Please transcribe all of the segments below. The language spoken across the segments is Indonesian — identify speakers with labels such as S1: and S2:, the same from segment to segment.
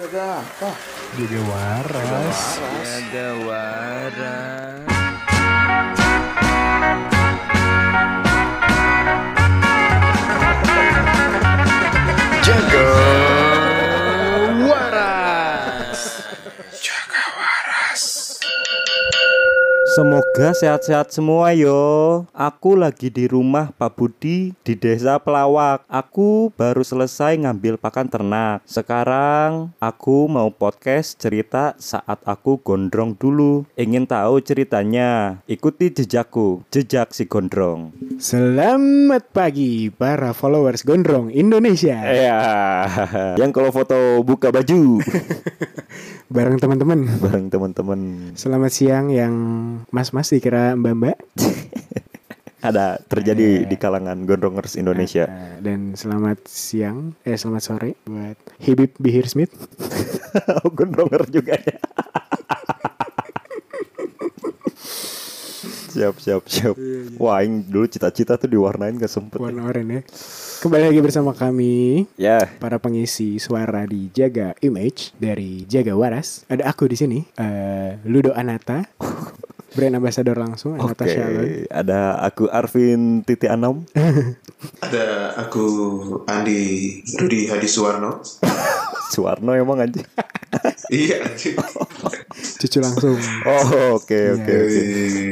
S1: Jaga apa?
S2: Jaga waras.
S3: Jaga waras.
S1: Jaga.
S4: Semoga sehat-sehat semua yo. Aku lagi di rumah Pak Budi di Desa Pelawak. Aku baru selesai ngambil pakan ternak. Sekarang aku mau podcast cerita saat aku gondrong dulu. Ingin tahu ceritanya? Ikuti jejakku, jejak si gondrong.
S2: Selamat pagi para followers Gondrong Indonesia.
S4: Ya, yang kalau foto buka baju
S2: Bareng teman-teman.
S4: bareng teman-teman.
S2: Selamat siang yang mas-mas dikira mbak-mbak.
S4: Ada terjadi di kalangan gondrongers Indonesia.
S2: Eh, Dan selamat siang, eh selamat sore buat Habib Bihir Smith.
S4: Oh, gondronger juga ya. siap siap siap. Wah, yang dulu cita-cita tuh diwarnain gak sempet.
S2: Iya, Warna oranye ya. Kembali lagi bersama kami
S4: Ya,
S2: para pengisi suara di Jaga Image dari Jaga Waras. Ada aku di sini, eh, Ludo Anata. Brand ambassador langsung
S4: oke.
S2: Anata Shalon.
S4: Ada aku Arvin Titi Anam.
S1: Ada aku Andi Rudi Hadi Suwarno.
S4: Suwarno emang aja.
S1: iya. anjing.
S2: Cucu langsung.
S4: Oh, oke
S2: Iya,
S4: oke oke.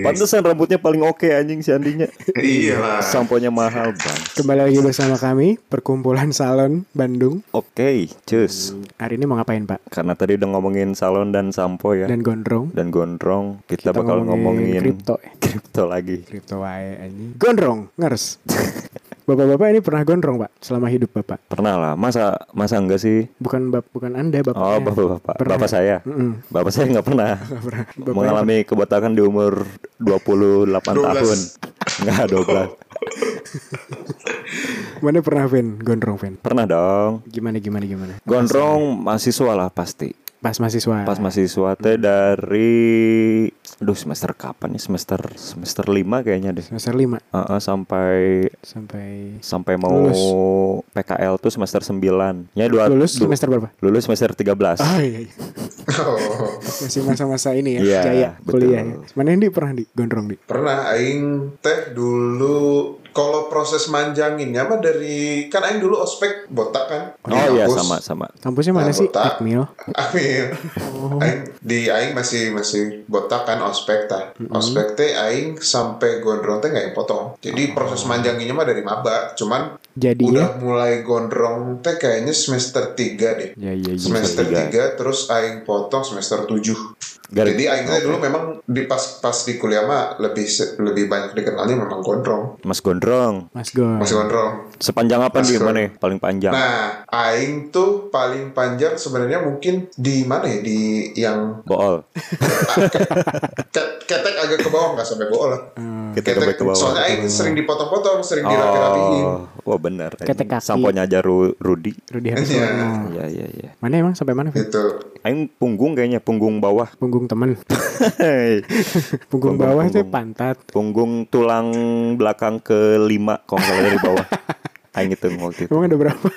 S4: Pantesan rambutnya paling oke anjing si Andinya.
S1: Iya lah.
S4: Samponya mahal, Bang.
S2: Kembali lagi bersama kami perkumpulan salon Bandung.
S4: Oke, cus.
S2: Hari ini mau ngapain Pak?
S4: Karena tadi udah ngomongin salon dan sampo ya.
S2: Dan gondrong.
S4: Dan gondrong, kita, bakal ngomongin,
S2: kripto.
S4: kripto lagi.
S2: Kripto wae ini. Gondrong, ngers. Bapak-bapak ini pernah gondrong Pak selama hidup Bapak.
S4: Pernah lah, masa masa enggak sih?
S2: Bukan bap bukan Anda Bapak.
S4: Oh, bapak-bapak.
S2: Pernah. ya?
S4: Bapak saya.
S2: Mm-mm.
S4: Bapak saya nggak pernah
S2: pernah. Bapak
S4: mengalami kebotakan di umur 28 tahun. Enggak, 12.
S2: Mana pernah Vin gondrong Vin?
S4: Pernah dong.
S2: Gimana gimana gimana?
S4: Gondrong mahasiswa lah pasti.
S2: Pas mahasiswa.
S4: Pas mahasiswa teh dari Duh semester kapan nih? Semester semester 5 kayaknya deh.
S2: semester 5
S4: Heeh, sampai
S2: sampai
S4: sampai mau PKL tuh semester 9. Ya dua
S2: lulus
S4: du-
S2: semester berapa?
S4: lulus semester 13.
S2: Ah iya, iya.
S1: Oh.
S2: Masih masa-masa ini ya,
S4: Iya,
S2: jaya
S4: betul.
S2: kuliah ya. Mana yang di pernah di gondrong di?
S1: Pernah aing teh dulu kalau proses manjanginnya mah dari kan aing dulu ospek botak kan. Di
S4: Oh iya
S1: kampus.
S4: sama sama.
S2: Kampusnya mana
S1: Nah,
S2: sih?
S1: botak.
S2: Akmil.
S1: Amin. Aing di aing masih masih botak kan ospek ta. Ospek teh aing sampai gondrong teh nggak yang potong.
S4: Oh.
S1: Jadi proses manjanginya mah dari maba, cuman
S4: ya?
S2: Jadinya
S1: udah mulai gondrong teh kayaknya semester 3 deh.
S4: Ya ya
S1: Semester 3 terus aing potong semester 7.
S4: Gara-
S1: Jadi aing teh dulu memang di pas pas di kuliah mah lebih se- lebih banyak dikenalnya memang gondrong.
S4: Mas Gondrong.
S2: Mas Gon.
S4: Hmm.
S1: Masih gondrong.
S4: Sepanjang apa
S1: Mas
S4: nih
S1: Gon.
S4: mana? Paling panjang.
S1: Nah, aing tuh paling panjang sebenarnya mungkin di mana ya di yang
S4: Bool.
S1: Ket- ketek agak ke bawah nggak sampai bawah lah.
S4: Kita coba Hmm, ke bawah. Hmm.
S1: Soalnya aing sering dipotong-potong, sering dirapi-rapiin.
S4: Oh, wah benar.
S2: Ketek kaki.
S4: Samponya aja Ru- Rudi.
S2: Rudy Harus
S1: Iya.
S2: Warno.
S4: Ya ya ya.
S2: Mana emang sampai mana? Vin?
S1: Gitu.
S4: Aing punggung kayaknya punggung bawah.
S2: Punggung temen.
S4: Punggung,
S2: Punggung bawah tuh
S4: punggung.
S2: pantat.
S4: punggung tulang belakang kelima kalau nggak salah dari bawah. Aing hitung waktu itu.
S2: Emang ada berapa?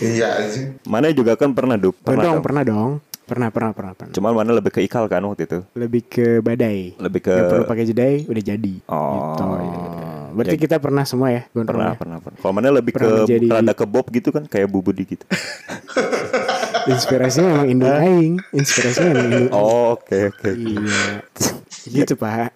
S1: Iya anjing.
S4: mana juga kan pernah dup.
S2: Gondrong
S4: Pernah. dong.
S2: pernah dong. Pernah pernah pernah pernah.
S4: Cuman mana lebih ke ikal kan waktu itu.
S2: Lebih ke badai.
S4: Lebih ke
S2: Nggak perlu pakai jedai udah jadi.
S4: Oh,
S2: Gitu.
S4: iya, iya.
S2: Berarti
S4: Ya.
S2: kita pernah semua ya
S4: pernah
S2: gondrong. ya?
S4: pernah pernah. Kalau mana lebih
S2: Pernah
S4: ke
S2: menjadi-
S4: rada ke bob gitu kan kayak bubudi gitu.
S2: Inspirasinya emang Indung Aing. Inspirasinya emang Indung Aing.
S4: Oh, Oke oke.
S2: Iya. gitu Pak.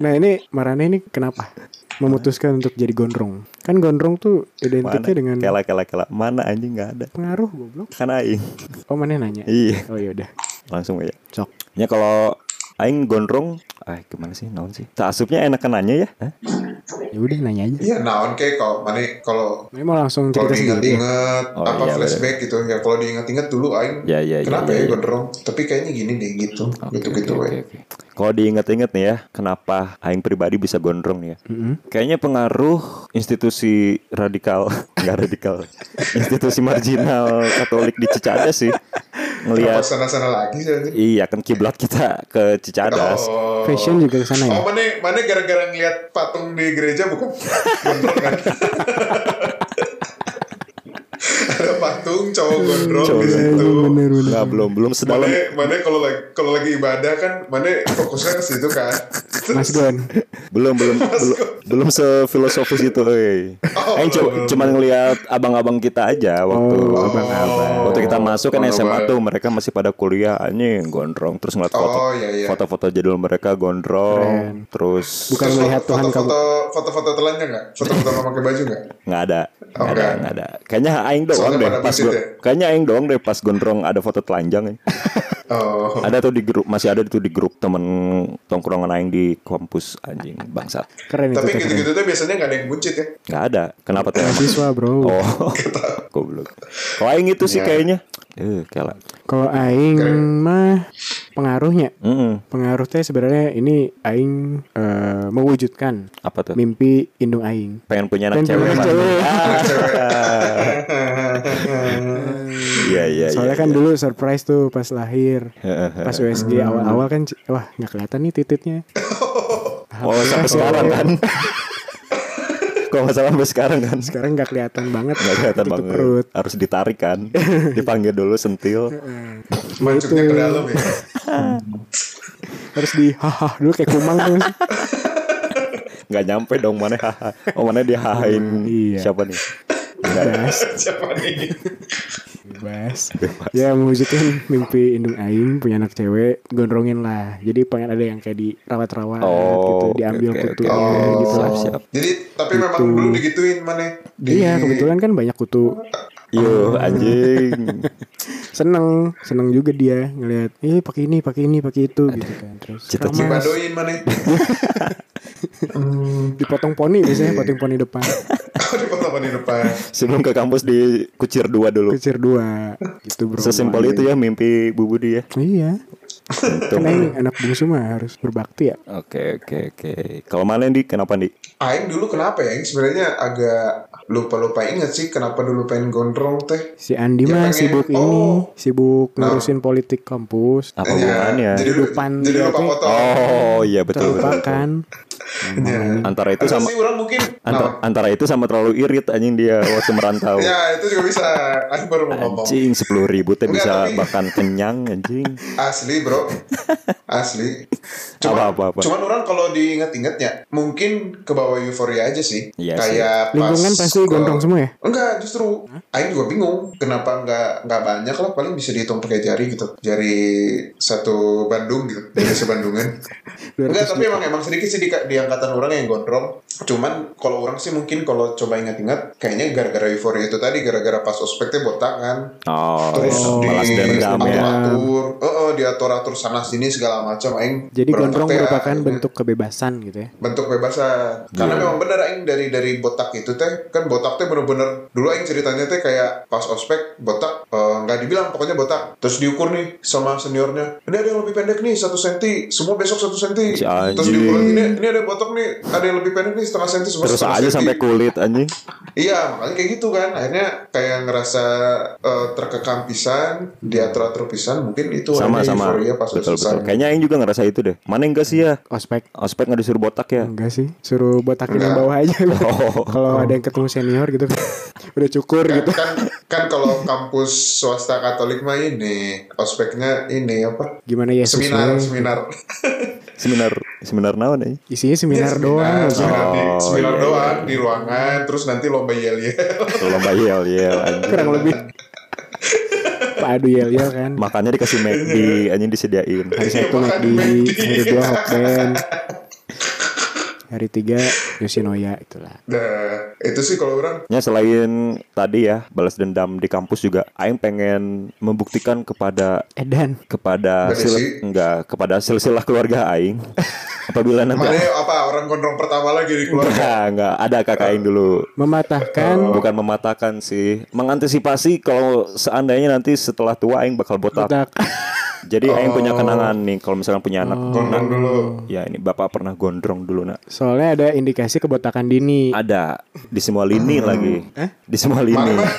S2: Nah ini Marane ini kenapa memutuskan untuk jadi gondrong? Kan gondrong tuh
S4: Mana?
S2: identiknya dengan
S4: Kela kela kela. Mana anjing nggak ada.
S2: pengaruh goblok.
S4: Kan aing.
S2: Oh mana nanya?
S4: Iya.
S2: Oh yaudah.
S4: Langsung aja.
S2: Cok.
S4: Ya kalau aing gondrong, ah gimana sih naon sih? Taasupnya enakan nanya ya. Hah?
S2: Ya udah nanya aja.
S1: Iya naon kayak kalau mana kalau
S2: Ini mau langsung
S1: kalau
S2: cerita sendiri.
S1: diinget-inget
S4: Oh,
S1: apa
S4: iya,
S1: flashback gitu ya kalau diinget-inget dulu aing
S4: Ya, ya, ya,
S1: kenapa
S4: ya,
S1: ya,
S4: ya.
S1: gondrong tapi kayaknya gini deh gitu gitu-gitu
S4: Oke,
S1: we.
S4: oke. Kalau diinget-inget nih ya, kenapa aing pribadi bisa gondrong nih ya? Kayaknya pengaruh institusi radikal, nggak radikal, institusi marginal Katolik di Cicadas sih.
S1: Kenapa
S4: Ngelihat
S1: sana-sana lagi sih anjing?
S4: iya kan kiblat kita ke Cicadas.
S1: Oh.
S2: Fashion juga ke
S4: Hmm.
S2: sana ya.
S1: Oh, mana mana gara-gara ngeliat patung di gereja bukan? Gondrong kan? Ada patung cowok gondrong
S4: Cowok
S1: di situ.
S4: Nggak, belum belum
S1: Mana
S4: sedalam
S1: mana kalau lagi kalau lagi ibadah kan mana fokusnya ke situ kan.
S2: Mas Gon.
S4: belum belum belum, belum sefilosofis itu eh
S1: Oh,
S4: Aing
S1: belum,
S4: cu-
S1: belum,
S4: cuman ngelihat abang-abang kita aja waktu
S2: Oh, abang-abang.
S4: waktu kita masuk kan
S1: Oh,
S4: SMA
S1: abang.
S4: tuh mereka masih pada kuliah anjing gondrong terus ngeliat
S1: Oh,
S4: foto
S1: iya, iya.
S4: foto-foto jadul mereka gondrong terus
S2: Bukan melihat Tuhan
S1: foto,
S2: kamu.
S1: foto, foto-foto telanjang nggak? Foto-foto nggak pakai baju nggak?
S4: nggak ada nggak ada
S1: Oke.
S4: nggak ada kayaknya aing doang
S1: Soalnya
S4: deh
S1: pada
S4: pas
S1: busit
S4: gon-
S1: ya?
S4: kayaknya aing doang deh pas gondrong ada foto telanjang ya.
S1: Oh,
S4: ada tuh di grup masih ada tuh di grup temen tongkrongan aing di kampus anjing bangsat
S2: Keren itu.
S1: tapi
S2: tuh, keren.
S1: gitu-gitu tuh biasanya nggak ada yang buncit ya.
S4: nggak ada kenapa tuh emang?
S2: Mahasiswa bro.
S4: Oh, goblok. Kalau aing itu
S2: Ya.
S4: sih
S1: Iya.
S4: kayaknya. Eh, kalah.
S2: Kalau Aing mah pengaruhnya.
S4: Mm-mm.
S2: Pengaruh teh sebenarnya ini Aing eh, mewujudkan
S4: Apa tuh?
S2: mimpi indung Aing.
S4: Pengen punya anak
S2: Pengen
S4: cewek.
S2: punya
S4: Pak.
S2: cewek.
S4: Ah, Iya, iya,
S2: Soalnya
S4: iya,
S2: kan
S4: iya.
S2: dulu surprise tuh pas lahir. pas USG
S1: Hmm.
S2: awal-awal kan c- wah nggak kelihatan nih titiknya.
S4: Oh, sampai sekarang kan. Kalau nggak salah sampai sekarang kan.
S2: Sekarang nggak kelihatan banget.
S4: Nggak kelihatan
S2: titik
S4: banget.
S2: perut.
S4: Harus ditarik kan. Dipanggil dulu sentil.
S1: Masuknya ke dalam ya.
S2: Harus di haha dulu kayak kumang terus.
S4: Nggak nyampe dong mana haha. Oh, mana dia hahain
S2: Iya.
S4: siapa nih?
S2: Bebas,
S1: Siapa nih?
S2: bebas.
S4: Bebas.
S2: Ya mewujudkan mimpi indung aing punya anak cewek gondrongin lah. Jadi pengen ada yang kayak dirawat-rawat gitu,
S4: Oh, oke,
S2: diambil
S4: oke, oke.
S2: kutunya
S1: Oh.
S2: gitu.
S4: Siap, siap.
S1: Jadi tapi memang dulu digituin mana? Di-
S2: Iya, kebetulan kan banyak kutu.
S4: Yo, Iya, anjing.
S2: Seneng, seneng juga dia ngelihat, "Eh, pakai ini, pakai ini, pakai itu" gitu kan. Terus
S4: Cita-cita.
S2: keramas,
S1: Dibadoin mana? Hmm.
S2: dipotong poni
S4: Iya,
S2: biasanya, potong poni depan.
S1: Oh, dipotong di depan.
S4: Sebelum ke kampus dikucir dua dulu.
S2: Kecil dua gitu, Bro.
S4: Sesimpel itu ya mimpi Bu Budi ya.
S2: Iya.
S4: Untung.
S2: Kan aing anak bungsu mah harus berbakti ya.
S4: Oke oke oke. Kalau mana di kenapa di?
S1: Aing dulu kenapa ya? Aing Sebenarnya agak lupa-lupa inget sih kenapa dulu pengen gondrong teh.
S2: Si Andi
S1: Ya,
S2: mah
S1: pengen-
S2: sibuk ini,
S1: oh.
S2: sibuk ngurusin politik kampus.
S4: Apa hubungannya?
S1: Iya. Jadi, lu-
S2: Kehidupan
S1: jadi lupa
S2: berarti.
S1: foto.
S4: Oh iya betul. betul.
S2: Lupakan.
S4: Antara itu
S1: Itu
S4: sama
S1: sih orang mungkin.
S4: antara, antara itu sama terlalu irit anjing dia waktu merantau.
S1: Nah, ya itu juga bisa. Aing baru mau ngomong.
S4: Anjing sepuluh ribu teh
S1: Enggak,
S4: bisa
S1: tapi-
S4: bahkan kenyang anjing.
S1: Asli bro, asli.
S4: Apa, apa, apa?
S1: Cuman orang kalau diinget-inget ya, mungkin ke bawah euforia aja sih.
S4: Iya
S1: Kayak pas
S2: Lingkungan pasti
S1: ke-
S2: gondrong semua ya?
S1: Enggak, justru. Aing juga bingung. Kenapa nggak nggak banyak lah? Paling bisa dihitung pakai jari gitu. Jari satu Bandung gitu. Dari sebandungan. Enggak, tapi emang emang sedikit sih di, di angkatan orang yang gondrong. Cuman kalau orang sih mungkin kalau coba ingat-ingat, kayaknya gara-gara euforia itu tadi, gara-gara pas ospeknya botak kan
S4: Oh,
S1: terus
S4: iya. balas
S1: di
S4: dendam ya.
S1: atur, diatur atur sana sini segala macam aing
S2: Jadi
S1: berontak
S2: gondrong
S1: teh,
S2: merupakan
S1: akhirnya.
S2: bentuk kebebasan gitu ya.
S1: bentuk bebasan karena
S4: Iya.
S1: memang benar aing dari dari botak itu teh kan botak teh bener-bener dulu aing ceritanya teh kayak pas ospek botak eh, nggak dibilang pokoknya botak terus diukur nih sama seniornya ini ada yang lebih pendek nih satu senti semua besok satu senti
S4: Si
S1: terus
S4: anjing.
S1: diukur ini ini ada yang botak nih ada yang lebih pendek nih setengah senti semua
S4: Terus
S1: setengah
S4: aja
S1: senti."
S4: sampai kulit anjing.
S1: Iya, makanya kayak gitu kan. Akhirnya kayak ngerasa eh, terkekang pisan, diatur-atur pisan. Mungkin itu
S4: Sama
S1: ada
S4: sama.
S1: euforia pas
S4: Betul
S1: selesai.
S4: betul. Kayaknya yang juga ngerasa itu deh. Mana enggak sih ya?
S2: Ospek
S4: Ospek nggak disuruh botak ya?
S2: enggak sih, suruh botakin yang
S1: Enggak.
S2: bawah aja.
S4: Oh.
S2: Kalau ada yang ketemu senior gitu kan, udah cukur
S1: Kan,
S2: gitu.
S1: kan, kan kalau kampus swasta Katolik mah ini ospeknya ini apa?
S2: Gimana ya?
S1: Seminar, seminar.
S4: Seminar seminar naon nih?
S2: Isinya seminar doang.
S1: Iya, Seminar, seminar di,
S4: Oh,
S1: seminar
S4: iya,
S1: doang di ruangan. Terus nanti lomba yel yel.
S4: Lomba yel yel anjing.
S2: Kurang lebih. Padu yel yel kan.
S4: Makannya dikasih McD anjing disediain.
S2: Hari satu
S1: Makan
S2: McD,
S1: McD.
S2: hari dua Hokben, hari tiga Yoshinoya itulah.
S1: Nah, itu sih kalau orang
S4: Ya selain tadi ya balas dendam di kampus juga aing pengen membuktikan kepada
S2: Edan.
S4: kepada
S1: Berisi.
S4: sil- enggak kepada silsilah keluarga aing apabila
S1: mana
S4: nanti
S1: apa orang gondrong pertama lagi di keluarga.
S4: enggak enggak ada kakak aing dulu
S1: Oh.
S2: mematahkan
S4: bukan mematahkan sih mengantisipasi kalau seandainya nanti setelah tua aing bakal botak
S2: otak.
S4: jadi aing punya kenangan nih kalau misalnya punya anak
S1: Oh. Gondrong
S4: Nah,
S1: dulu.
S4: ya ini bapak pernah gondrong dulu nak
S2: Soalnya ada indikasi kebotakan dini.
S4: ada di semua lini
S1: Ah.
S4: lagi
S1: Eh?
S4: di semua
S1: Mana
S4: lini
S1: mah?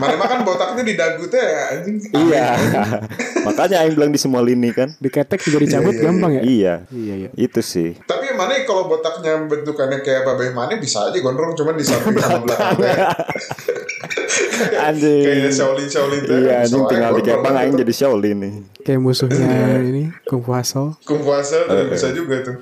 S1: Mana mah kan botaknya di dagu teh ya, anjing.
S4: iya makanya aing bilang di semua lini kan
S2: Diketek juga dicabut gampang ya?
S4: Iya.
S2: Iya, iya.
S4: Itu sih.
S1: Tapi mana kalau botaknya bentukannya ya. kayak babai mana bisa aja gondrong cuman di samping sama belakang teh.
S4: anjing.
S1: Kayaknya Shaolin Shaolin tuh.
S4: Iya, anjing
S1: soalnya gitu.
S4: tinggal tiga
S1: korban
S4: pang aing
S1: itu.
S4: jadi Shaolin nih.
S2: Kayak
S4: Iya.
S2: musuhnya ini Kung Fu Hustle.
S1: Kung
S4: Eh.
S1: puasa tuh bisa juga tuh.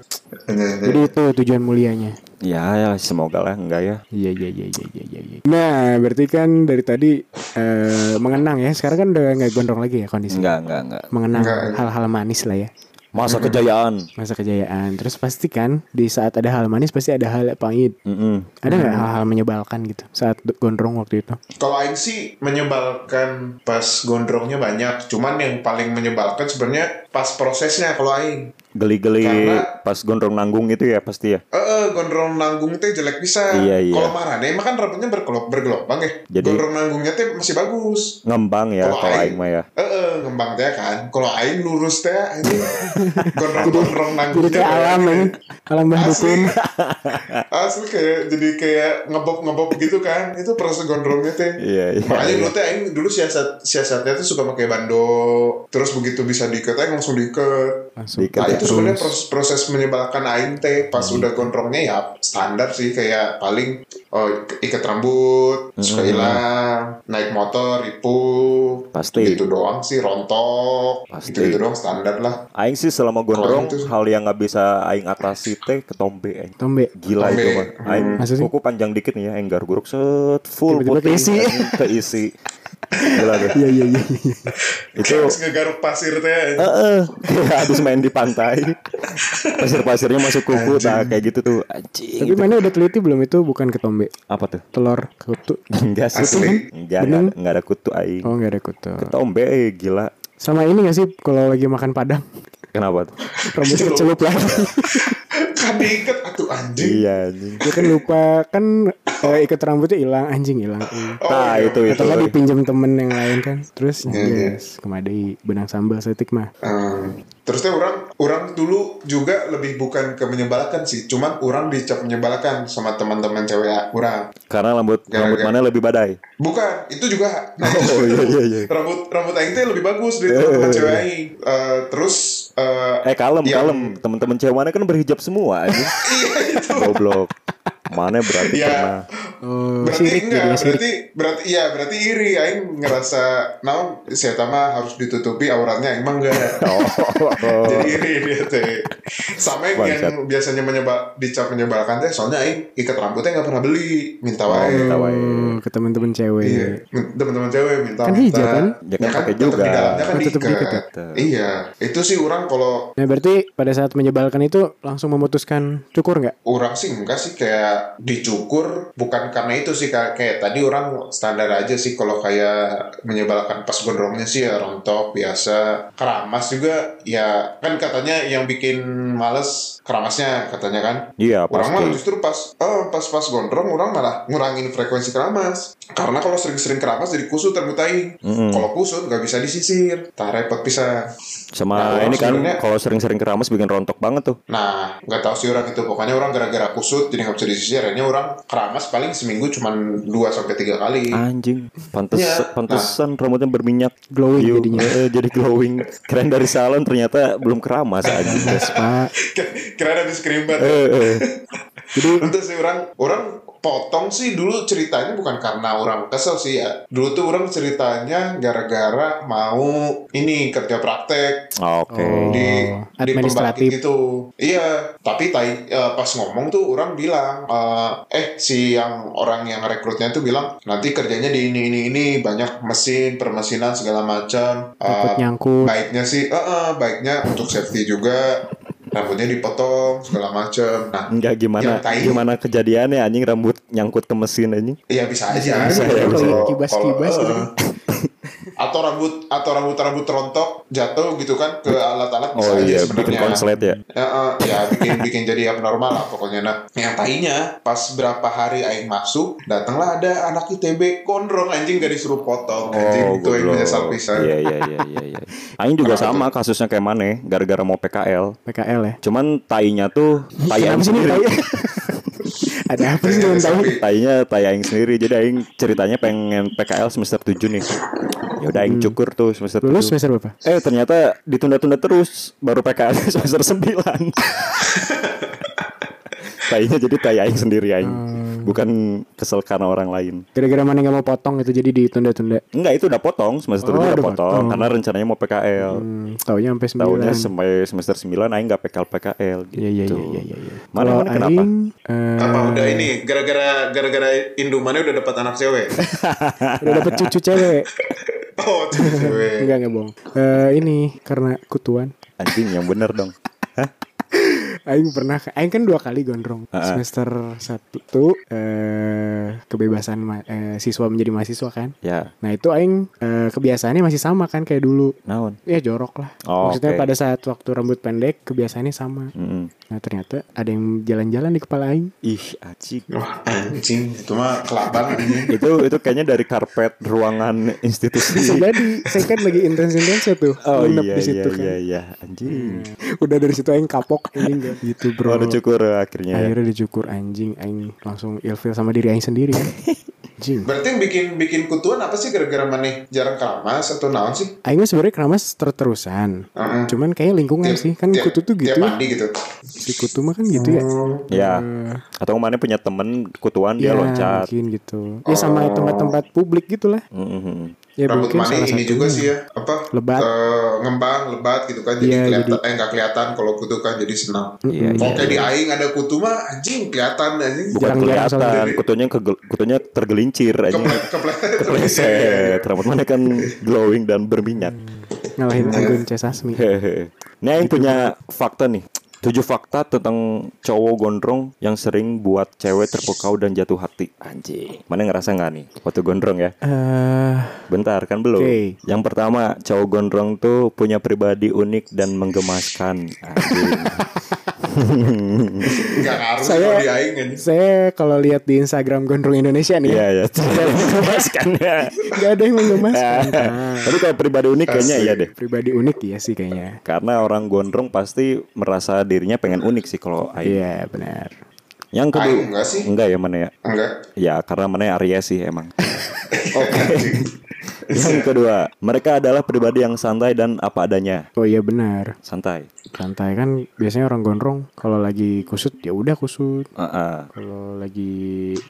S1: Iya, iya.
S2: Jadi itu tujuan mulianya.
S4: Ya, ya semoga lah enggak ya.
S2: Iya iya iya iya iya iya. iya. Nah berarti kan dari tadi eh, mengenang ya. Sekarang kan udah nggak gondrong lagi ya kondisi.
S4: Enggak, enggak, enggak.
S2: Mengenang
S1: Nggak.
S2: hal-hal manis lah ya.
S4: Masa kejayaan.
S2: Masa kejayaan. Terus pasti kan di saat ada hal manis pasti ada hal pahit.
S4: Mm-mm.
S2: Ada nggak hal-hal menyebalkan gitu saat gondrong waktu itu?
S1: Kalau Aing sih menyebalkan pas gondrongnya banyak. Cuman yang paling menyebalkan sebenarnya pas prosesnya kalau Aing.
S4: Geli-geli
S1: Karena-
S4: pas gondrong nanggung itu ya pasti ya.
S1: Eh, eh, gondrong nanggung teh jelek bisa.
S4: Iya, iya.
S1: Kalau marah deh, emang kan rambutnya bergelop bergelombang ya.
S4: Jadi-
S1: Gondrong nanggungnya teh masih bagus.
S4: Ngembang ya
S1: Kalau
S4: kalau
S1: aing.
S4: aing mah ya.
S1: Eh, eh, ngembang teh kan. Kalau Aing lurus teh, ini gondrong gondrong
S2: Jadi
S1: nanggungnya.
S2: kayak
S1: kayak
S2: alam ya. Alam
S1: Asli.
S2: bahdukun.
S1: Asli kayak jadi kayak ngebob-ngebob gitu kan. Itu proses gondrongnya teh.
S4: Iya, iya.
S1: Makanya
S4: iya.
S1: dulu teh Oh, aing dulu siasat siasatnya tuh suka pakai bando. Terus begitu bisa diikat aing langsung diikat.
S2: Langsung.
S4: Dikat.
S1: Nah,
S4: Kata
S1: itu
S4: terus.
S1: sebenarnya proses, proses menyebalkan aing teh pas
S4: Hmm.
S1: udah gondrongnya ya standar sih kayak paling oh, ik- ikat rambut,
S4: Hmm.
S1: suka hilang, naik motor, ripuh.
S4: Pasti.
S1: Gitu doang sih rontok.
S4: Pasti.
S1: Gitu, gitu doang standar lah.
S4: Aing sih
S1: Oh,
S4: selama gondrong
S1: Kalau itu-
S4: hal yang nggak bisa aing atasi teh ketombe aing.
S2: Tombe.
S4: Gila
S1: Tombe. Hmm.
S4: itu mah. Aing
S2: Maksudnya?
S4: kuku panjang dikit nih ya, aing garuk-guruk set full
S2: Tiba-tiba
S4: putih,
S2: keisi.
S4: anjing, keisi. Gila tuh.
S2: Iya iya iya. iya.
S4: Itu
S1: Terus ngegaruk pasir teh.
S4: Heeh, habis main di pantai. Pasir-pasirnya masuk kuku nah kayak gitu tuh. Anjing.
S2: Tapi
S4: itu
S2: mana udah teliti belum itu bukan ketombe.
S4: Apa tuh?
S2: Telur kutu.
S4: Enggak sih.
S1: Asli.
S4: Enggak, enggak, ada-
S2: Bener.
S4: enggak ada kutu aing.
S1: Iya.
S2: Oh nggak ada kutu.
S4: Tombe eh, gila.
S2: Sama ini gak sih kalau lagi makan padang
S4: Kenapa tuh?
S2: rambutnya
S1: Celup.
S2: celup lagi.
S1: kan diikat atuh anjing.
S4: iya anjing.
S2: Dia kan lupa kan eh, ikat rambutnya hilang anjing hilang.
S1: Oh,
S4: Nah,
S1: iya.
S4: itu itu.
S2: Atau kan dipinjam temen yang lain kan. Terus
S1: iya.
S2: yes, kemadai benang sambal setik mah.
S1: Em, terus teh orang orang dulu juga lebih bukan ke menyebalkan sih, cuman orang dicap menyebalkan sama teman-teman cewek orang.
S4: Karena rambut rambut
S1: Gara-gara-
S4: mana lebih badai?
S1: Bukan, itu juga. Nah,
S4: Oh iya iya iya.
S1: rambut rambut aing teh lebih bagus dari teman-teman cewek aing. Eh, terus eh,
S4: Eh kalem
S1: Yang-
S4: kalem teman-teman cewek mana kan berhijab semua anjing. Goblok. Mana berarti
S1: Ya.
S4: pernah
S2: Oh,
S1: berarti
S2: sirik
S1: enggak,
S2: jadinya sirik.
S1: berarti berarti iya, berarti iri aing ngerasa nah saya mah harus ditutupi auratnya emang enggak.
S4: Oh,
S1: Jadi iri dia teh. Sama yang, yang
S4: Bangsat.
S1: biasanya menyebal dicap menyebalkan teh soalnya aing ikat rambutnya nggak pernah beli, minta wae.
S4: minta wae.
S2: Oh, ke teman-teman cewek.
S1: Iya, teman-teman cewek minta
S2: Kan
S1: minta.
S2: hijau kan?
S4: Ya kan pakai
S1: tetap
S4: juga.
S1: Di dalamnya kan
S2: Oh, tetap
S1: diikat.
S2: diikat
S4: ya?
S1: Iya, itu sih orang kalau
S2: Nah berarti pada saat menyebalkan itu langsung memutuskan cukur nggak?
S1: orang sih enggak sih kayak dicukur bukan karena itu sih kayak, kayak tadi orang standar aja sih kalau kayak menyebalkan pas gondrongnya sih ya rontok biasa keramas juga ya kan katanya yang bikin males keramasnya katanya kan
S4: Iya
S1: Orang mah
S4: pasti.
S1: justru pas eh, pas-pas gondrong orang malah ngurangin frekuensi keramas. Karena kalau sering-sering keramas jadi kusut termutai.
S4: Mm-mm.
S1: Kalau kusut nggak bisa disisir, tak repot bisa. Nah,
S4: Sama
S1: orang
S4: ini kan
S1: sebenarnya-
S4: kalau sering-sering keramas bikin rontok banget tuh.
S1: Nah, nggak tahu sih orang itu. Pokoknya orang gara-gara kusut jadi nggak bisa disisir. Akhirnya orang keramas paling seminggu cuman 2 sampai tiga kali.
S4: Anjing, pantes
S1: Iya.
S4: pantesan rambutnya berminyak.
S2: Nah. Glowing
S4: Yuk,
S2: jadinya.
S4: eh, jadi glowing. Keren dari salon ternyata belum keramas anjing.
S2: Pak.
S1: Kira habis kerimbat.
S4: Eh, eh.
S2: Jadi
S1: Entah sih orang orang potong sih dulu ceritanya bukan karena orang kesel sih ya. Dulu tuh orang ceritanya gara-gara mau ini kerja praktek
S4: Oke.
S2: Oh.
S1: di di
S2: administratif.
S1: pembangkit itu iya tapi tai- eh, pas ngomong tuh orang bilang eh, eh si yang orang yang rekrutnya tuh bilang nanti kerjanya di ini ini ini banyak mesin permesinan segala macam Eh,
S2: takut nyangkut.
S1: baiknya sih eh, eh, baiknya untuk safety juga rambutnya dipotong segala macam nah
S4: Enggak gimana
S1: Yang tai.
S4: gimana kejadiannya anjing rambut nyangkut ke mesin anjing.
S1: Iya bisa aja.
S2: Bisa,
S4: ya, bisa.
S1: Kalau-
S2: Kibas-kibas
S1: kalau-
S2: gitu.
S1: eh. atau rambut atau rambut rambut rontok jatuh gitu kan ke alat-alat bisa
S4: Oh
S1: aja
S4: iya,
S1: sebenarnya.
S4: bikin konslet ya.
S1: Ya, eh, ya bikin bikin jadi abnormal lah pokoknya. Nah, yang tainya pas berapa hari aing masuk, datanglah ada anak ITB gondrong anjing gak disuruh potong
S4: Oh,
S1: anjing itu aing
S4: goblok.
S1: menyesal pisan.
S4: Iya iya iya iya iya. Aing juga sama kasusnya kayak mana ya? gara-gara mau PKL.
S2: PKL ya.
S4: Cuman tainya tuh tai aing
S2: Kenapa sih ini
S4: sendiri.
S2: tahu? Ada apa
S1: Iya,
S2: sih dengan tahu?
S1: Tapi-
S4: Tainya tai aing sendiri. Jadi aing ceritanya pengen PKL semester 7 nih. Ya udah aing cukur tuh semester
S2: Hmm. Lulus
S4: 7.
S2: ya? semester berapa?
S4: Eh ternyata ditunda-tunda terus baru PKL semester 9. Tainya jadi tai aing sendiri aing.
S2: Hmm.
S4: Bukan kesel karena orang lain.
S2: Gara-gara mana nggak mau potong itu jadi ditunda-tunda.
S4: Enggak, itu udah potong semester
S2: Oh,
S4: dua udah
S2: udah
S4: potong
S2: potong.
S4: karena rencananya mau PKL.
S2: Hmm, taunya sampai sembilan.
S4: Tahunnya sem- semester 9 aing nggak PKL PKL gitu.
S2: Iya iya iya iya iya. iya.
S4: Mana mana
S2: Kalau
S4: kenapa?
S2: aing, eh,
S1: Apa udah ini gara-gara gara-gara Indomannya udah dapat anak cewek.
S2: eh, udah dapet cucu cewek.
S1: oh, cucu cewek.
S2: Enggak enggak bohong. Eh, ini karena kutuan.
S4: Anjing yang bener dong.
S2: Aing pernah, Aing kan dua kali gondrong semester satu eh, kebebasan ma- eh, siswa menjadi mahasiswa kan.
S4: Ya,
S2: Nah itu Aing eh, kebiasaannya masih sama kan kayak dulu.
S4: naon?
S2: Ya jorok lah.
S4: Oh,
S2: Maksudnya
S4: oke.
S2: pada saat waktu rambut pendek kebiasaannya sama.
S4: Mm-mm.
S2: Nah ternyata ada yang jalan-jalan di kepala Aing.
S4: Hmm, Ih, acik.
S1: Wah, anjing, itu mah kelabang anjing.
S4: itu itu kayaknya dari karpet ruangan
S2: Bisa
S4: institusi.
S2: jadi, saya kan lagi intens-intensnya tuh.
S4: Oh
S2: nginep
S4: iya
S2: di situ
S4: iya
S2: kan.
S4: iya iya anjing.
S2: Udah dari situ Aing kapok ini enggak gitu bro.
S4: Baru cukur
S1: Iya.
S4: akhirnya.
S2: Akhirnya dicukur anjing, Aing langsung ilfil sama diri Aing sendiri. kan. Anjing.
S1: Berarti yang bikin bikin kutuan apa sih gara-gara maneh jarang keramas atau naon sih?
S2: Aing mah sebenarnya keramas terus-terusan.
S1: Heeh. Iya.
S2: Cuman kayak lingkungan
S1: Tiap-
S2: sih. Kan
S1: tiap-
S2: kutu tuh gitu
S1: Tiap
S2: ya.
S1: mandi gitu.
S2: Si kutu mah kan gitu ya.
S1: Oh,
S4: Ya. Atau mana punya temen kutuan dia
S2: Ya,
S4: loncat.
S2: mungkin gitu. Ya sama tempat-tempat publik gitu lah.
S4: Mm-mm.
S2: Ya
S1: Oh. Rambut
S2: mungkin
S1: maneh
S2: salah
S1: ini
S2: satu.
S1: juga sih ya, apa?
S2: Lebat.
S1: eh, ngembang, lebat gitu kan. Jadi
S2: Iya,
S1: kelihatan eh enggak kelihatan kalau kutu kan jadi senang.
S4: Iya
S1: Mau
S4: iya.
S1: kayak di aing ada kutu mah anjing kelihatan anjing.
S4: Bukan
S2: Jarang-jarang
S4: kelihatan,
S2: soalnya.
S4: kutunya kegel- kutunya tergelincir anjing.
S1: Keple- kepleset.
S4: Kepleset. Rambut mana kan glowing dan berminyak.
S2: Ngalahin
S1: Iya.
S2: Anggun C. Sasmi. Hmm.
S4: Hehehe. Ini
S2: Gitu.
S4: yang punya fakta nih. Tujuh fakta tentang cowok gondrong yang sering buat cewek terpukau dan jatuh hati. Anjing. Mana ngerasa nggak nih waktu gondrong ya?
S2: Eh,
S4: Bentar kan belum.
S2: Oke.
S4: Yang pertama, cowok gondrong tuh punya pribadi unik dan menggemaskan. Ah, Anjing.
S1: Enggak ngaruh sih
S2: Saya-
S1: kalau di aing anjing.
S2: saya kalau lihat di Instagram Gondrong Indonesia nih.
S4: Iya ya, menggemaskan ya.
S1: Iya.
S2: Gak ada yang menggemaskan. Nah,
S4: Tapi kalau pribadi unik kayaknya iya deh.
S2: pribadi unik ya sih kayaknya.
S4: Karena orang gondrong pasti merasa dirinya pengen unik sih kalau Aing.
S2: Iya benar.
S4: Yang kedua,
S1: Aing enggak sih.
S4: Enggak ya mana ya?
S1: Enggak.
S4: Ya karena mana Aries sih emang. Oke. yang kedua, mereka adalah pribadi yang santai dan apa adanya.
S2: Oh iya benar.
S4: Santai.
S2: Santai kan biasanya orang gondrong kalau lagi kusut ya udah kusut.
S1: Ah,
S4: Heeh.
S2: Kalau lagi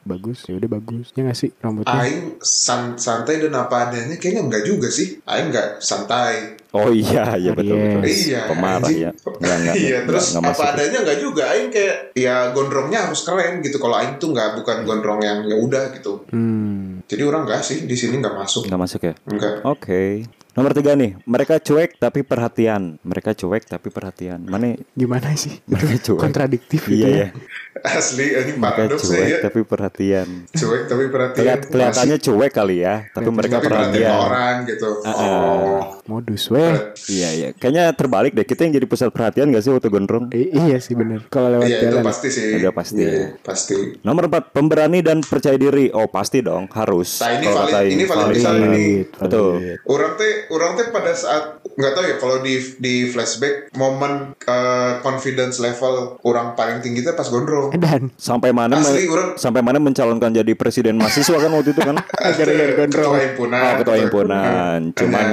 S2: bagus ya udah bagus. Ya nggak sih
S4: Hmm. Ah.
S2: rambutnya?
S1: Aing san- santai dan apa adanya kayaknya enggak juga sih. Aing enggak santai.
S4: Oh iya, iya betul betul.
S2: Aries.
S1: Iya.
S4: Pemarah
S1: anjing.
S4: ya. Enggak enggak.
S1: iya,
S4: enggak,
S1: terus
S4: enggak
S1: apa
S4: masuk.
S1: adanya enggak juga. Aing kayak ya gondrongnya harus keren gitu. Kalau aing tuh enggak
S4: Hmm.
S1: bukan gondrong yang ya udah gitu.
S2: Hmm.
S1: Jadi orang enggak sih di sini enggak masuk.
S4: Enggak masuk ya?
S1: Enggak.
S4: Oke. Nomor tiga nih, mereka cuek tapi perhatian. Mereka cuek tapi perhatian. Mana
S2: Gimana sih?
S4: mereka cuek.
S2: Kontradiktif
S4: Nah,
S2: gitu
S4: Iya
S2: ya.
S4: ya.
S1: Asli anjing
S4: Mereka
S1: paradoks
S4: cuek
S1: ya.
S4: tapi perhatian.
S1: Cuek tapi perhatian.
S4: Kelihat- kelihatannya cuek kali ya, tapi
S1: Tapi
S4: mereka
S1: perhatian ke
S4: perhatian. Ah,
S1: orang gitu.
S4: Heeh.
S2: Modus weh.
S4: Iya iya. Kayaknya terbalik deh. Kita yang jadi pusat perhatian gak sih waktu gondrong?
S2: I- iya sih benar. Kalau
S1: Oh.
S2: lewat
S1: Iya, itu
S2: jalan.
S1: pasti sih.
S4: Udah pasti.
S1: Iya, pasti.
S4: Nomor 4 pemberani dan percaya diri. Oh pasti dong harus.
S1: Nah, ini
S4: Kalau
S1: valid-
S4: kata
S1: ini valid pisan
S4: banget.
S1: ini.
S4: Betul.
S1: Orang teh orang teh pada saat nggak tahu ya kalau di di flashback momen eh, confidence level orang paling tinggi teh pas gondrong.
S2: Eh, Dan
S4: Sampai mana
S1: Asli,
S4: me-
S1: orang.
S4: sampai mana mencalonkan jadi presiden mahasiswa kan waktu itu kan?
S1: Gara-gara gondrong. Nah, Ketua himpunan. gitu.
S4: Oh, ketua himpunan. Cuman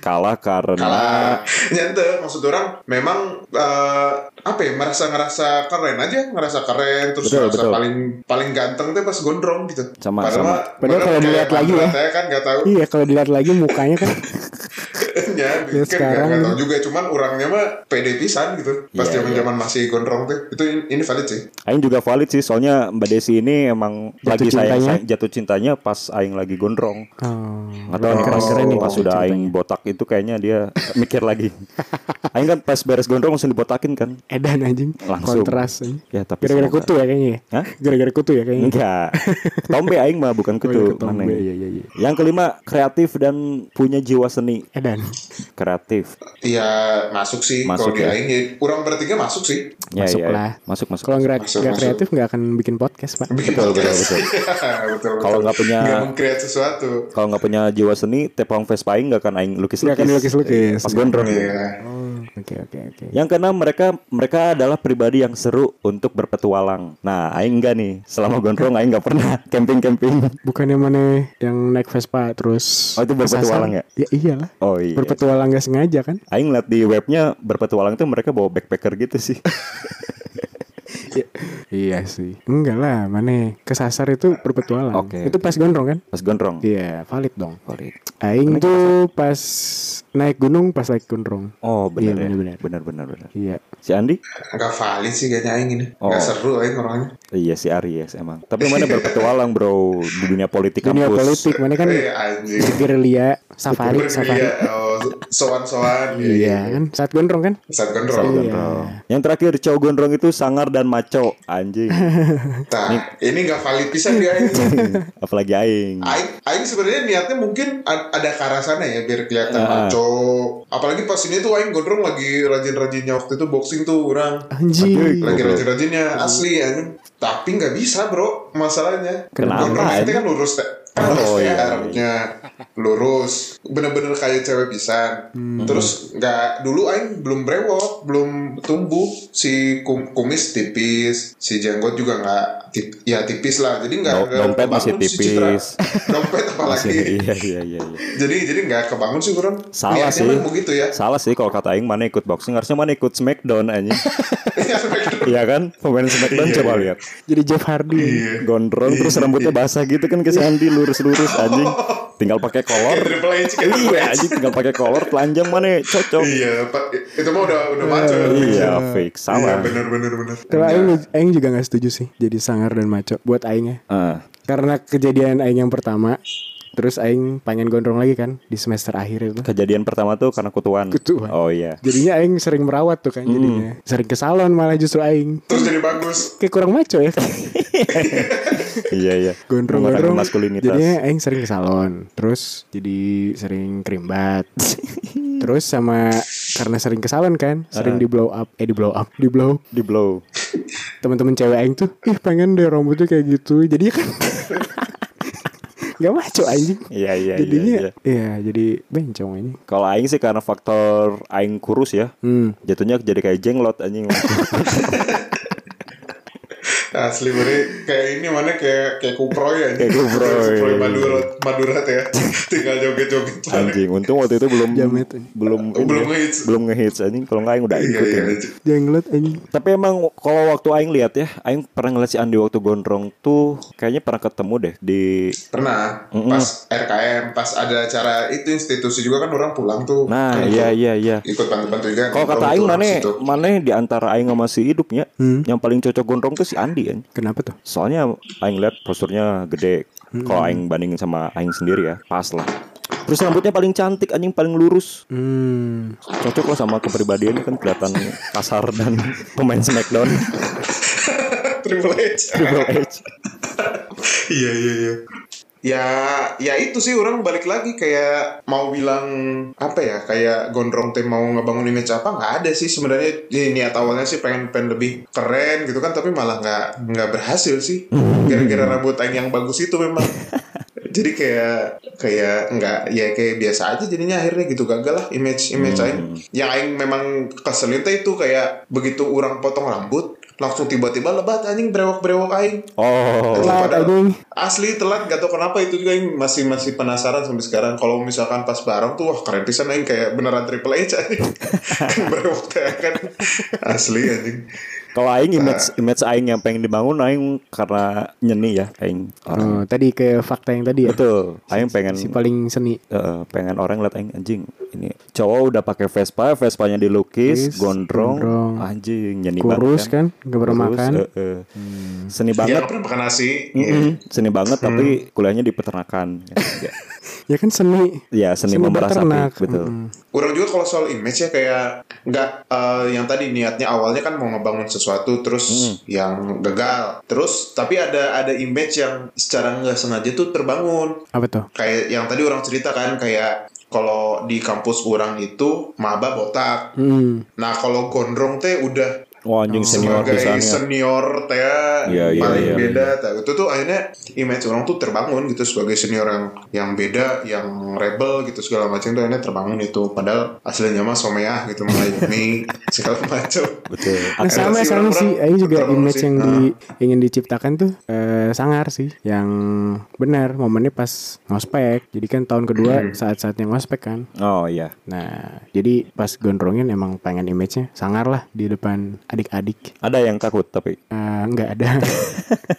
S4: kalah karena
S1: Kalah. Nyante Iya, maksud orang memang eh, apa ya merasa ngerasa keren aja, ngerasa keren terus
S4: Betul,
S1: ngerasa
S4: betul.
S1: paling paling ganteng teh pas gondrong gitu.
S4: Sama,
S1: padahal,
S4: sama.
S1: mah-
S2: Padahal kalau
S1: kayak
S2: dilihat lagi
S1: Andra
S2: ya.
S1: teh kan nggak tahu.
S2: iya kalau dilihat lagi mukanya kan
S1: ya,
S2: Ya,
S1: kan nggak-
S2: sekarang-
S1: nggak tahu juga cuman orangnya mah pede pisan gitu. Pas
S4: Iya,
S1: zaman-zaman masih gondrong teh. Itu in- ini valid sih.
S4: Aing juga valid sih soalnya Mbak Desi ini emang
S2: Jatuh
S4: lagi sayang,
S2: cintanya?
S4: sayang- jatuh cintanya pas aing lagi gondrong.
S2: oh,
S4: Atau pas,
S1: keren nih
S4: pas
S2: jatuh
S4: sudah aing botak itu kayaknya dia mikir lagi. aing kan pas beres gondrong langsung dibotakin kan.
S2: edan Eh, anjing
S4: Langsung.
S2: kontras anjing.
S4: Ya, tapi
S2: gara-gara
S4: semoga-
S2: kutu ya kayaknya ya?
S4: Hah?
S2: gara-gara kutu ya kayaknya
S4: Enggak. Tombe aing mah bukan
S2: iya,
S4: kutu.
S2: ketombe.
S4: Mana? ya?
S2: Iya, iya, iya.
S4: Yang kelima, kreatif dan punya jiwa seni.
S2: edan
S4: Kreatif.
S1: Iya masuk sih
S4: Masuk
S1: kalau di
S4: ya.
S1: aing ya. Kurang bertiga masuk sih.
S2: Masuk lah.
S4: Masuk masuk.
S2: kalau nggak
S1: Masuk,
S2: nggak
S1: masuk.
S2: kreatif nggak akan bikin podcast pak
S4: Betul, betul, betul.
S1: Iya. betul,
S4: Kalau nggak punya-
S1: nggak mengkreat sesuatu.
S4: Kalau nggak punya jiwa seni, tepang Vespa aing nggak akan aing lukis lukis. Eh,
S2: Nggak akan lukis-lukis.
S4: Pas gondrong. ya.
S1: Iya.
S2: Oh, oke oke oke
S4: Yang keenam mereka mereka adalah pribadi yang seru untuk berpetualang. Nah, aing enggak nih. Selama gondrong aing nggak pernah camping-camping.
S2: bukannya mana yang naik Vespa terus
S4: Oh, itu berpetualang
S2: kesasar? ya iyalah
S4: Oh iya.
S2: berpetualang nggak sengaja kan
S4: Aing liat di webnya berpetualang tuh mereka bawa backpacker gitu sih.
S2: Ya, Iya sih. Enggak lah, mana kesasar itu perpetualan.
S4: Oke,
S2: Itu pas gondrong kan?
S4: Mas Gondrong. Oh,
S2: Iya, valid dong.
S4: Sorry.
S2: Aing tuh pas naik gunung pas naik gondrong.
S4: Oh benar
S2: Iya,
S4: ya.
S2: benar-benar.
S4: benar benar benar.
S2: Iya.
S4: Si Andi?
S1: Enggak valid sih kayaknya Aing ini.
S4: Oh.
S1: Enggak seru Aing orangnya.
S4: Iya si Aries emang. Tapi mana berpetualang bro di dunia politik
S2: Dunia
S4: kampus.
S2: politik mana kan
S1: Eh, anjing.
S2: gerilya, safari, safari.
S1: Bergeria, oh, soan-soan.
S2: Iya kan? Saat gondrong kan?
S1: Saat
S4: Cowok
S1: kontrol.
S2: Iya.
S4: gondrong. Yang terakhir cowok gondrong itu sangar dan maco anjing.
S1: Nah, ini enggak valid pisan dia
S2: Hmm.
S1: Aing.
S4: Apalagi aing.
S1: Aing, Aing sebenarnya niatnya mungkin a- ada ke arah sana ya biar kelihatan
S4: Ah.
S1: maco. Apalagi pas ini tuh Aing gondrong lagi rajin-rajinnya waktu itu boxing tuh orang.
S2: Anjing.
S1: Lagi
S4: Goblok.
S1: rajin-rajinnya asli anjing. Tapi nggak bisa bro masalahnya.
S4: Kenapa,
S1: Gondrong itu
S4: anjing?
S1: kan lurus teh.
S4: Oh,
S1: Kan lurus teh,
S4: iya.
S1: rambutnya lurus. Bener-bener kayak cewek pisan. Terus nggak dulu Aing belum brewok, belum tumbuh. Si kum- kumis tipis, si jenggot juga nggak tip- ya tipis lah. Jadi nggak
S4: Do-
S1: nggak
S4: dompet masih
S1: kebangun si citra.
S4: tipis.
S1: dompet apalagi.
S4: iya iya iya. iya.
S1: jadi jadi nggak kebangun sih kurang
S4: Salah
S1: Niatnya
S4: sih.
S1: mah begitu ya
S4: Salah sih kalau kata aing mana ikut boxing harusnya mana ikut Smackdown anjing. Iya kan? Pemain Smackdown
S1: Iya,
S4: coba lihat.
S2: Jadi Jeff
S4: Iya.
S2: Hardy.
S4: Gondrong terus rambutnya basah gitu kan ke si Andi lurus-lurus anjing. Tinggal pakai kolor.
S1: Kayak Triple H, kayak Triple
S4: Iya
S1: H.
S4: anjing tinggal pakai kolor telanjang mana cocok.
S1: iya Pak. itu mah udah udah maco
S4: Iya fake
S1: Iya,
S4: sama.
S1: bener bener bener Iya.
S2: Kalau Aing, Aing juga gak setuju sih jadi sangar dan maco buat Aingnya.
S4: Ah,
S2: Karena kejadian Aing yang pertama, terus Aing pengen gondrong lagi kan di semester akhir itu.
S4: kejadian pertama tuh karena kutuan.
S2: Kutuan.
S4: Oh iya.
S2: Jadinya Aing sering merawat tuh kan
S4: Hmm.
S2: jadinya. Sering ke salon malah justru Aing.
S1: terus jadi bagus
S2: Kayak kurang maco ya.
S4: iya iya. Mengurangi
S2: Gondrong-gondrong.
S4: maskulinitas.
S2: Jadinya Aing sering ke salon. Terus jadi sering krimbat. terus sama karena sering ke salon kan,
S4: Ah.
S2: sering di blow up. Eh di blow up, di blow.
S4: di blow.
S2: Teman-teman cewek Aing tuh, ih pengen deh rambutnya kayak gitu. Jadi kan Gak maco anjing.
S4: Iya iya iya,
S2: jadinya
S4: iya.
S2: iya jadi bencong ini
S4: Kalau aing sih karena faktor aing kurus ya.
S2: hmm.
S4: Jatuhnya jadi kayak jenglot anjing.
S1: asli beri kayak ini mana kayak kayak kuproy ya
S4: Kayak kuproy.
S1: madura madura ya tinggal joget joget
S4: anjing. Untung waktu itu belum
S2: Jamet.
S4: belum ini
S1: Oh, Belum
S4: ya,
S1: ngehits.
S4: Belum ngehits anjing. Kalau nggak aing udah
S1: iya
S4: ikutin.
S1: iya
S2: jenggot anjing
S4: Tapi emang kalau waktu aing lihat ya, aing pernah ngeliat si Andi waktu gondrong tuh kayaknya pernah ketemu deh di
S1: pernah pas RKM pas ada acara itu institusi juga kan orang pulang tuh
S4: Nah,
S1: Kan
S4: iya
S1: ikut-
S4: iya iya.
S1: ikut bantu-bantu juga gitu.
S4: Kalau kata
S1: Orang
S4: aing
S1: tuh
S4: mana
S1: situ.
S4: mana di antara aing sama si hidupnya yang paling cocok gondrong tuh si Andi kan.
S2: kenapa tuh
S4: Soalnya aing lihat posturnya gede. Kalau aing bandingin sama aing sendiri ya, pas lah. Terus rambutnya paling cantik, anjing paling lurus.
S2: hmm.
S4: Cocok lah sama kepribadiannya kan kelihatan kasar dan pemain Smackdown.
S1: Triple H
S4: Triple H.
S1: Iya iya iya. Ya ya itu sih orang balik lagi kayak mau bilang apa ya kayak gondrong teh mau ngebangun image apa nggak ada sih sebenarnya Ini niat awalnya sih pengen pengen lebih keren gitu kan tapi malah nggak nggak berhasil sih gara-gara rambut aing yang bagus itu memang jadi kayak kayak nggak ya kayak biasa aja jadinya akhirnya gitu gagal lah image image aing yang aing memang keselin teh itu kayak begitu orang potong rambut langsung tiba-tiba lebat anjing brewok-brewok aing
S4: Oh,
S1: Telat,
S2: Telat,
S1: padahal.
S2: anjing.
S1: Asli telat gak tau kenapa itu juga yang masih masih penasaran sampai sekarang. Kalau misalkan pas bareng tuh wah keren pisan aing kayak beneran triple H anjing. Berwok teh kan asli anjing.
S4: kalau aing image image aing yang pengen dibangun aing karena nyeni ya aing orang.
S2: oh, tadi ke fakta yang tadi ya
S4: Betul. Aing pengen
S2: si paling seni
S4: eh, pengen orang lihat aing anjing ini cowok udah pakai Vespa, Vespanya dilukis,
S2: Lukis,
S4: gondrong,
S2: gondrong.
S4: anjing nyeni
S2: kurus
S4: banget
S2: kan nggak pernah
S4: Kurus,
S2: makan Hmm.
S4: eh, eh. Seni
S1: Dia
S4: banget.
S1: nggak Ya, pernah makan nasi.
S4: Mm-mm, Seni banget tapi kuliahnya di peternakan. Ya,
S2: ya kan seni
S4: ya seni, memerah
S2: beternak.
S4: sapi, betul.
S2: Mm-mm.
S1: Orang juga kalau soal image ya kayak nggak eh, yang tadi niatnya awalnya kan mau ngebangun sesuatu
S4: Mm.
S1: terus yang gagal. Terus tapi ada ada image yang secara nggak sengaja tuh terbangun.
S2: apa tuh
S1: kayak yang tadi orang cerita kan kayak kalau di kampus orang itu maba botak.
S2: hmm.
S1: Nah kalau gondrong teh udah
S4: Wah, anjing senior
S1: Oh,
S4: pisannya.
S1: sebagai senior teh
S4: Iya, iya,
S1: paling
S4: iya,
S1: beda. teh. Itu tuh akhirnya image orang tuh terbangun gitu sebagai senior yang yang beda, yang rebel gitu segala macam tuh akhirnya terbangun itu. Padahal aslinya mah someah gitu mengayomi segala macam.
S4: Betul.
S2: Nah, sama
S1: Akhirnya sih
S2: sama
S1: orang-orang
S2: sih Aing juga
S1: terbangun
S2: image
S1: sih.
S2: yang
S1: Nah.
S4: Ah.
S2: di, ingin diciptakan tuh eh, sangar sih yang benar momennya pas ngospek jadi kan tahun kedua saat-saatnya ngospek kan
S4: Oh iya.
S2: Nah, jadi pas gondrongin emang pengen image-nya sangar lah di depan adik-adik.
S4: Ada yang takut tapi
S2: Eh, nggak ada.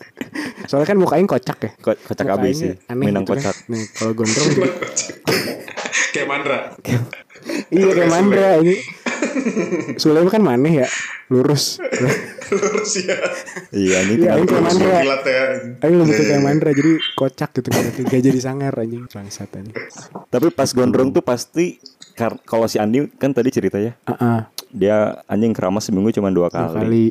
S2: Soalnya kan mukanya kocak ya.
S4: ko- kocak
S2: Mukanya
S4: abis sih.
S2: Aneh
S4: Minang
S2: gitu
S4: kocak.
S2: Kan. Nih, kalau gondrong juga.
S1: Kayak Mandra.
S2: iya kayak Mandra ini. Sulaim kan maneh ya, lurus.
S1: Lurus ya.
S4: Iya ini
S2: Iya,
S4: tinggal
S2: ini kayak
S1: Lurus
S2: Mandra.
S1: berkilat ya.
S2: Ayo lebih ke kayak Mandra jadi kocak gitu kan. Gak jadi sangar anjing bangsat anjing.
S4: Tapi pas gondrong tuh pasti kar- kalau si Andi kan tadi cerita ya
S2: Heeh.
S4: dia anjing keramas seminggu cuma dua
S2: dua
S4: kali.
S2: kali.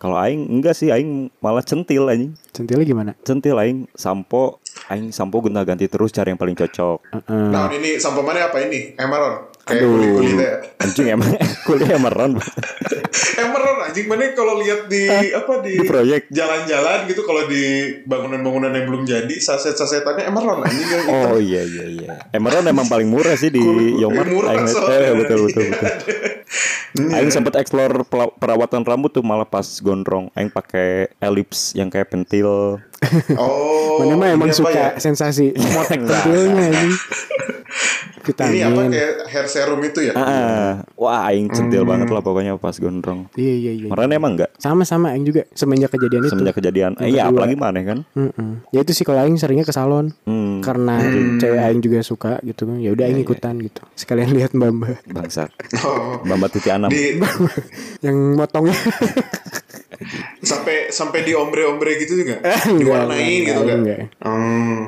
S4: Kalau aing enggak sih aing malah centil anjing.
S2: Centilnya gimana?
S4: Centil aing sampo aing sampo gonta-ganti terus cari yang paling cocok.
S2: Heeh.
S1: Tahun ini sampo mana ya, apa ini? Emeron.
S4: Hmm.
S1: Kayak ya.
S4: Aduh.
S1: kuli-kuli teh.
S4: Anjing emang kuliah meron.
S1: Emeron anjing mana kalau lihat di apa di,
S4: Di proyek.
S1: jalan-jalan gitu kalau di bangunan-bangunan yang belum jadi saset-sasetannya Emeron anjing yang hitam.
S4: Oh iya iya iya. Emeron emang paling murah sih di
S1: Kuli-
S4: Yomar.
S1: murah
S4: Aing,
S1: soalnya.
S4: eh, betul betul betul.
S1: Iya.
S4: Aing sempat explore pela- perawatan rambut tuh malah pas gondrong. Aing pakai elips yang kayak pentil.
S1: Oh.
S2: Mana mah emang
S1: ini apa ya? iya.
S2: suka sensasi motek centilnya anjing.
S1: Ini
S2: Vitamin.
S1: apa kayak hair serum itu ya?
S4: Ah, wah aing centil
S1: Hmm.
S4: banget lah pokoknya pas gondrong.
S2: Iya iya iya.
S4: Meron emang enggak
S2: Sama-sama yang juga semenjak
S1: Gitu.
S2: kejadian itu.
S4: semenjak kejadian.
S2: Yang
S4: Eh, iya
S2: kedua.
S4: apalagi mana kan?
S2: Mm-mm. Ya itu sih kalau aing seringnya ke salon
S4: Hmm,
S2: karena cewek aing juga suka gitu kan. Ya udah
S1: Iya,
S2: aing ikutan gitu. Sekalian lihat Mbak
S4: bangsat.
S1: Oh.
S4: Bamba titik enam.
S1: Di
S2: yang motongnya
S1: sampai sampai di ombre-ombre gitu juga.
S2: Eh, Enggak,
S1: Diwarnain
S2: enggak,
S1: gitu kan.
S2: enggak.
S1: Hmm.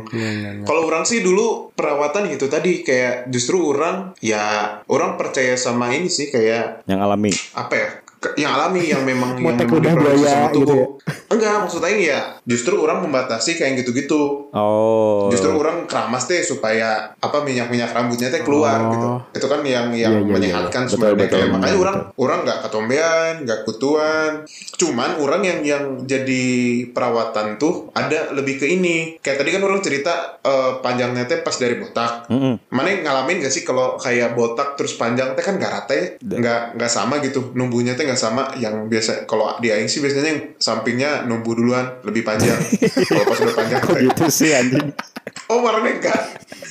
S1: Kalau orang sih dulu perawatan gitu tadi kayak justru orang ya orang percaya sama ini sih kayak
S4: yang alami.
S1: apa ya ke- yang alami yang memang yang
S2: Motek
S1: memang
S2: udah
S1: diproduksi
S2: buaya
S1: sama
S2: gitu
S1: tubuh.
S2: ya.
S1: Enggak maksudnya ya justru orang membatasi kayak gitu-gitu.
S4: Oh.
S1: Justru orang keramas deh supaya apa minyak-minyak rambutnya teh keluar
S2: Oh.
S1: gitu. Itu kan yang yang
S2: Iya, iya,
S1: menyehatkan
S4: iya.
S1: sebenarnya.
S4: Betul, betul,
S1: Kayak makanya
S4: betul.
S1: orang orang nggak ketombean, nggak kutuan. Cuman orang yang yang jadi perawatan tuh ada lebih ke ini. Kayak tadi kan orang cerita eh, panjangnya teh pas dari botak.
S4: Mm-mm.
S1: Mana yang ngalamin gak sih kalau kayak botak terus panjang teh kan nggak rata ya, nggak nggak sama gitu numbuhnya teh nggak sama yang biasa kalau di aing sih biasanya yang sampingnya numbuh duluan lebih panjang kalau pas udah panjang
S4: Kok gitu sih anjing?
S1: oh marahnya enggak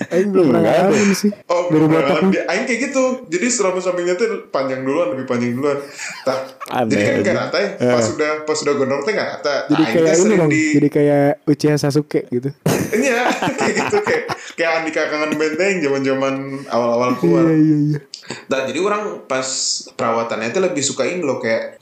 S2: aing belum pernah
S4: Enggak,
S2: ngalamin sih.
S1: Oh,
S2: Dari
S1: bener
S2: botak
S1: banget. Dia- Aing kayak gitu. Jadi rambut sampingnya tuh panjang duluan, lebih panjang duluan. Tah,
S4: Aneh
S1: jadi kan
S4: aja.
S1: gak rata ya.
S2: Iya.
S1: Pas udah pas udah gondrong teh gak rata.
S2: Jadi
S1: Aing
S2: kayak
S1: teh
S2: ini
S1: sering
S2: dong,
S1: di
S2: jadi kayak Uchiha Sasuke gitu.
S1: Iya, kayak gitu kayak kayak Andika kangen benteng zaman-zaman awal-awal keluar.
S2: Iya iya iya.
S1: Nah, jadi orang pas perawatannya itu lebih suka ini loh kayak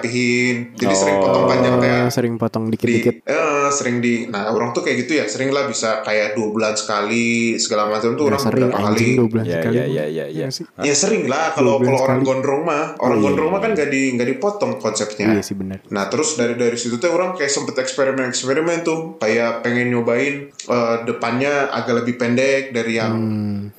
S1: dirapi-rapihin. Jadi sering potong panjang teh.
S2: Oh, sering potong
S1: Di,
S2: dikit-dikit.
S1: eh, sering di nah orang tuh kayak gitu ya sering lah bisa kayak dua bulan sekali segala macam tuh
S2: Nggak
S1: orang
S2: Iya, sering
S1: berapa kali
S2: anjing 12
S4: Ya,
S1: gitu.
S2: kali.
S4: ya, ya, ya, ya.
S2: sih?
S1: Ya sering lah kalau
S2: Dua bulan
S1: kalau orang
S2: sekali. Oh,
S1: gondrong mah, orang gondrong mah kan gak di nggak dipotong konsepnya.
S2: Iya sih benar.
S1: Nah terus dari dari situ tuh orang kayak sempet eksperimen eksperimen tuh kayak pengen nyobain eh, depannya agak lebih pendek dari yang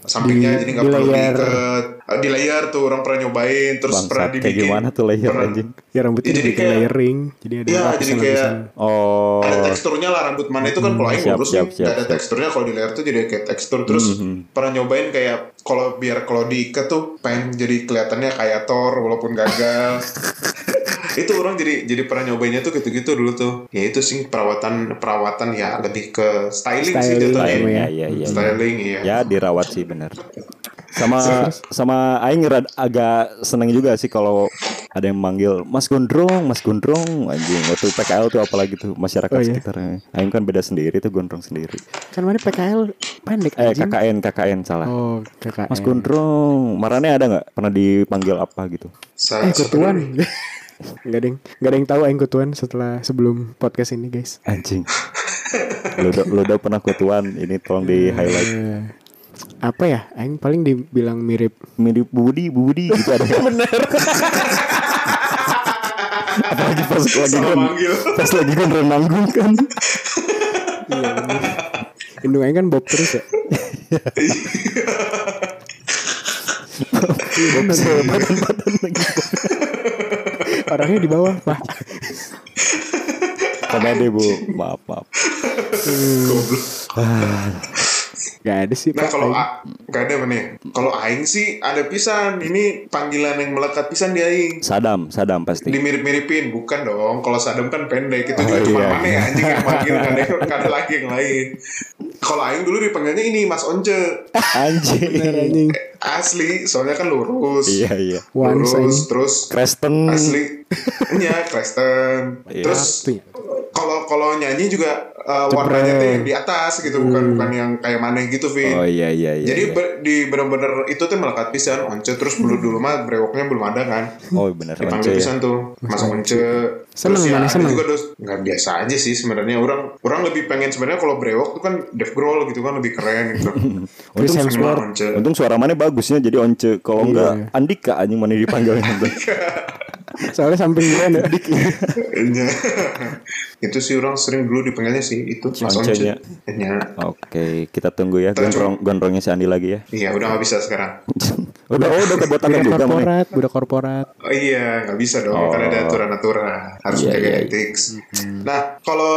S1: sampingnya
S2: Hmm. Di-
S1: jadi nggak
S2: di
S1: perlu
S2: layer.
S1: diikat Eh, di layer tuh orang pernah nyobain terus pernah
S4: Bangsat kayak
S1: dibikin
S4: gimana tuh layer
S1: pernah-
S4: anjing?
S2: Ya rambutnya
S1: Iya, Jadi
S2: dibikin
S1: kayak-
S2: layering, jadi ada
S1: Iya, jadi
S2: lapisan-lapisan.
S4: Oh. Hmm,
S1: ada teksturnya lah rambut mana itu kan kalau aing
S4: siap,
S1: lurus
S4: siap,
S1: nih,
S4: siap,
S1: nggak ada
S4: siap. Hmm,
S1: teksturnya kalau di layer tuh jadi kayak tekstur terus pernah nyobain kayak kalau biar kalau diikat tuh pengen jadi kelihatannya kayak Thor walaupun gagal itu orang jadi jadi pernah nyobainnya tuh gitu-gitu dulu tuh ya itu sih perawatan perawatan ya lebih ke styling, sih
S2: Styling,
S1: jatuhnya
S4: Lain, ya,
S2: Iya, iya.
S4: ya, ya, ya.
S1: styling iya
S4: Ya dirawat sih bener. Sama sama aing rad- agak seneng juga sih kalau ada yang manggil Mas Gondrong, Mas Gondrong anjing. Waktu PKL tuh apalagi tuh masyarakat
S2: Oh, iya.
S4: sekitarnya. Aing kan beda sendiri tuh Gondrong sendiri.
S2: Kan mana PKL pendek
S4: Eh
S2: anjing.
S4: KKN, KKN salah.
S2: Oh, KKN.
S4: Mas Gondrong, marane ada nggak pernah dipanggil apa gitu?
S1: Sa-
S2: Eh, kutuan.
S1: sebenarnya-
S2: Gak ada yang, gak ada yang tahu aing kutuan setelah sebelum podcast ini, guys.
S4: Anjing. Ludo, Ludo pernah kutuan, ini tolong di highlight.
S2: Eh, apa ya? Aing paling dibilang mirip
S4: Mirip Budi, Budi gitu ada. Bener. Apalagi pas lagi
S1: Salah
S4: kan,
S1: manggil.
S4: pas lagi kan renanggung kan.
S2: Indung Aing kan bob terus ya.
S4: Badan-badan lagi.
S2: Orangnya di bawah, Pak.
S4: Komedi bu, maaf maaf.
S2: Gak ada sih, Pak.
S1: Nah kalau
S2: Aing.
S1: A- gak ada mana ya? Kalau Aing sih ada pisan Ini panggilan yang melekat pisan di Aing
S4: Sadam, sadam pasti.
S1: dimirip-miripin bukan dong kalau Saddam kan pendek itu
S4: Iya. Oh,
S1: juga cuma
S4: iya.
S1: mana ya anjing yang manggil gak ada, nggak ada lagi yang lain kalau Aing dulu dipanggilnya ini Mas Once
S4: Anjing.
S2: anjing.
S1: Asli, soalnya kan lurus.
S4: Iya iya.
S2: One
S1: lurus terus
S4: Kristen.
S1: asli. Iya, Kristen.
S4: Iya.
S1: Terus
S2: Tuh ya.
S1: kalau kalau nyanyi juga uh,
S2: Jebret.
S1: warnanya tuh yang di atas gitu, bukan bukan yang kayak mana gitu, Vin.
S4: Hmm. Oh iya iya iya.
S1: Jadi
S4: iya.
S1: ber- di bener-bener itu tuh melekat pisan once terus dulu dulu mah brewoknya belum ada kan.
S4: oh benar Once
S1: Dipanggil
S4: ya.
S1: pisan tuh masuk once.
S2: Seneng,
S1: terus ya
S2: mana
S1: ada
S2: seneng?
S1: juga dos nggak biasa aja sih sebenarnya orang orang lebih pengen sebenarnya kalau brewok tuh kan Dave Grohl gitu kan lebih keren gitu.
S2: Chris
S4: Untung,
S1: Pengen
S2: Hemsworth.
S1: once.
S4: untung suara mana bagusnya jadi once. Kalau
S2: Iya.
S4: enggak Andika anjing mana dipanggil
S2: Soalnya samping gue ada dik.
S1: Iya. itu sih orang sering dulu dipanggilnya sih itu Mas Once.
S4: Oncenya.
S1: Iya.
S4: Oke, kita tunggu ya
S1: Kita
S4: gondrong gondrongnya si Andi lagi ya.
S1: Iya udah nggak bisa sekarang.
S4: udah oh, udah kebotakan
S2: Budak
S4: juga mana.
S2: korporat, budak korporat.
S1: Oh, iya nggak bisa dong
S4: Oh.
S1: karena ada aturan-aturan harus
S4: Iya,
S1: menjaga
S4: iya, iya.
S1: etik. Nah kalau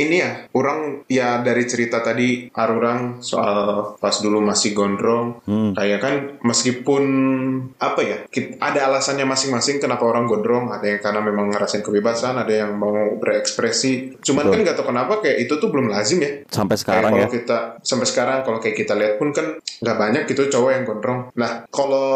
S1: ini ya orang ya dari cerita tadi orang soal pas dulu masih gondrong
S4: Hmm.
S1: kayak kan meskipun apa ya kit- ada alasannya masing-masing kenapa orang gondrong ada yang karena memang ngerasain kebebasan ada yang mau berekspresi cuman kan nggak tahu kenapa kayak itu tuh belum lazim ya
S4: Sampai sekarang
S1: kayak
S4: ya.
S1: kalau kita sampai sekarang kalau kayak kita lihat pun kan nggak banyak gitu cowok yang gondrong nah kalau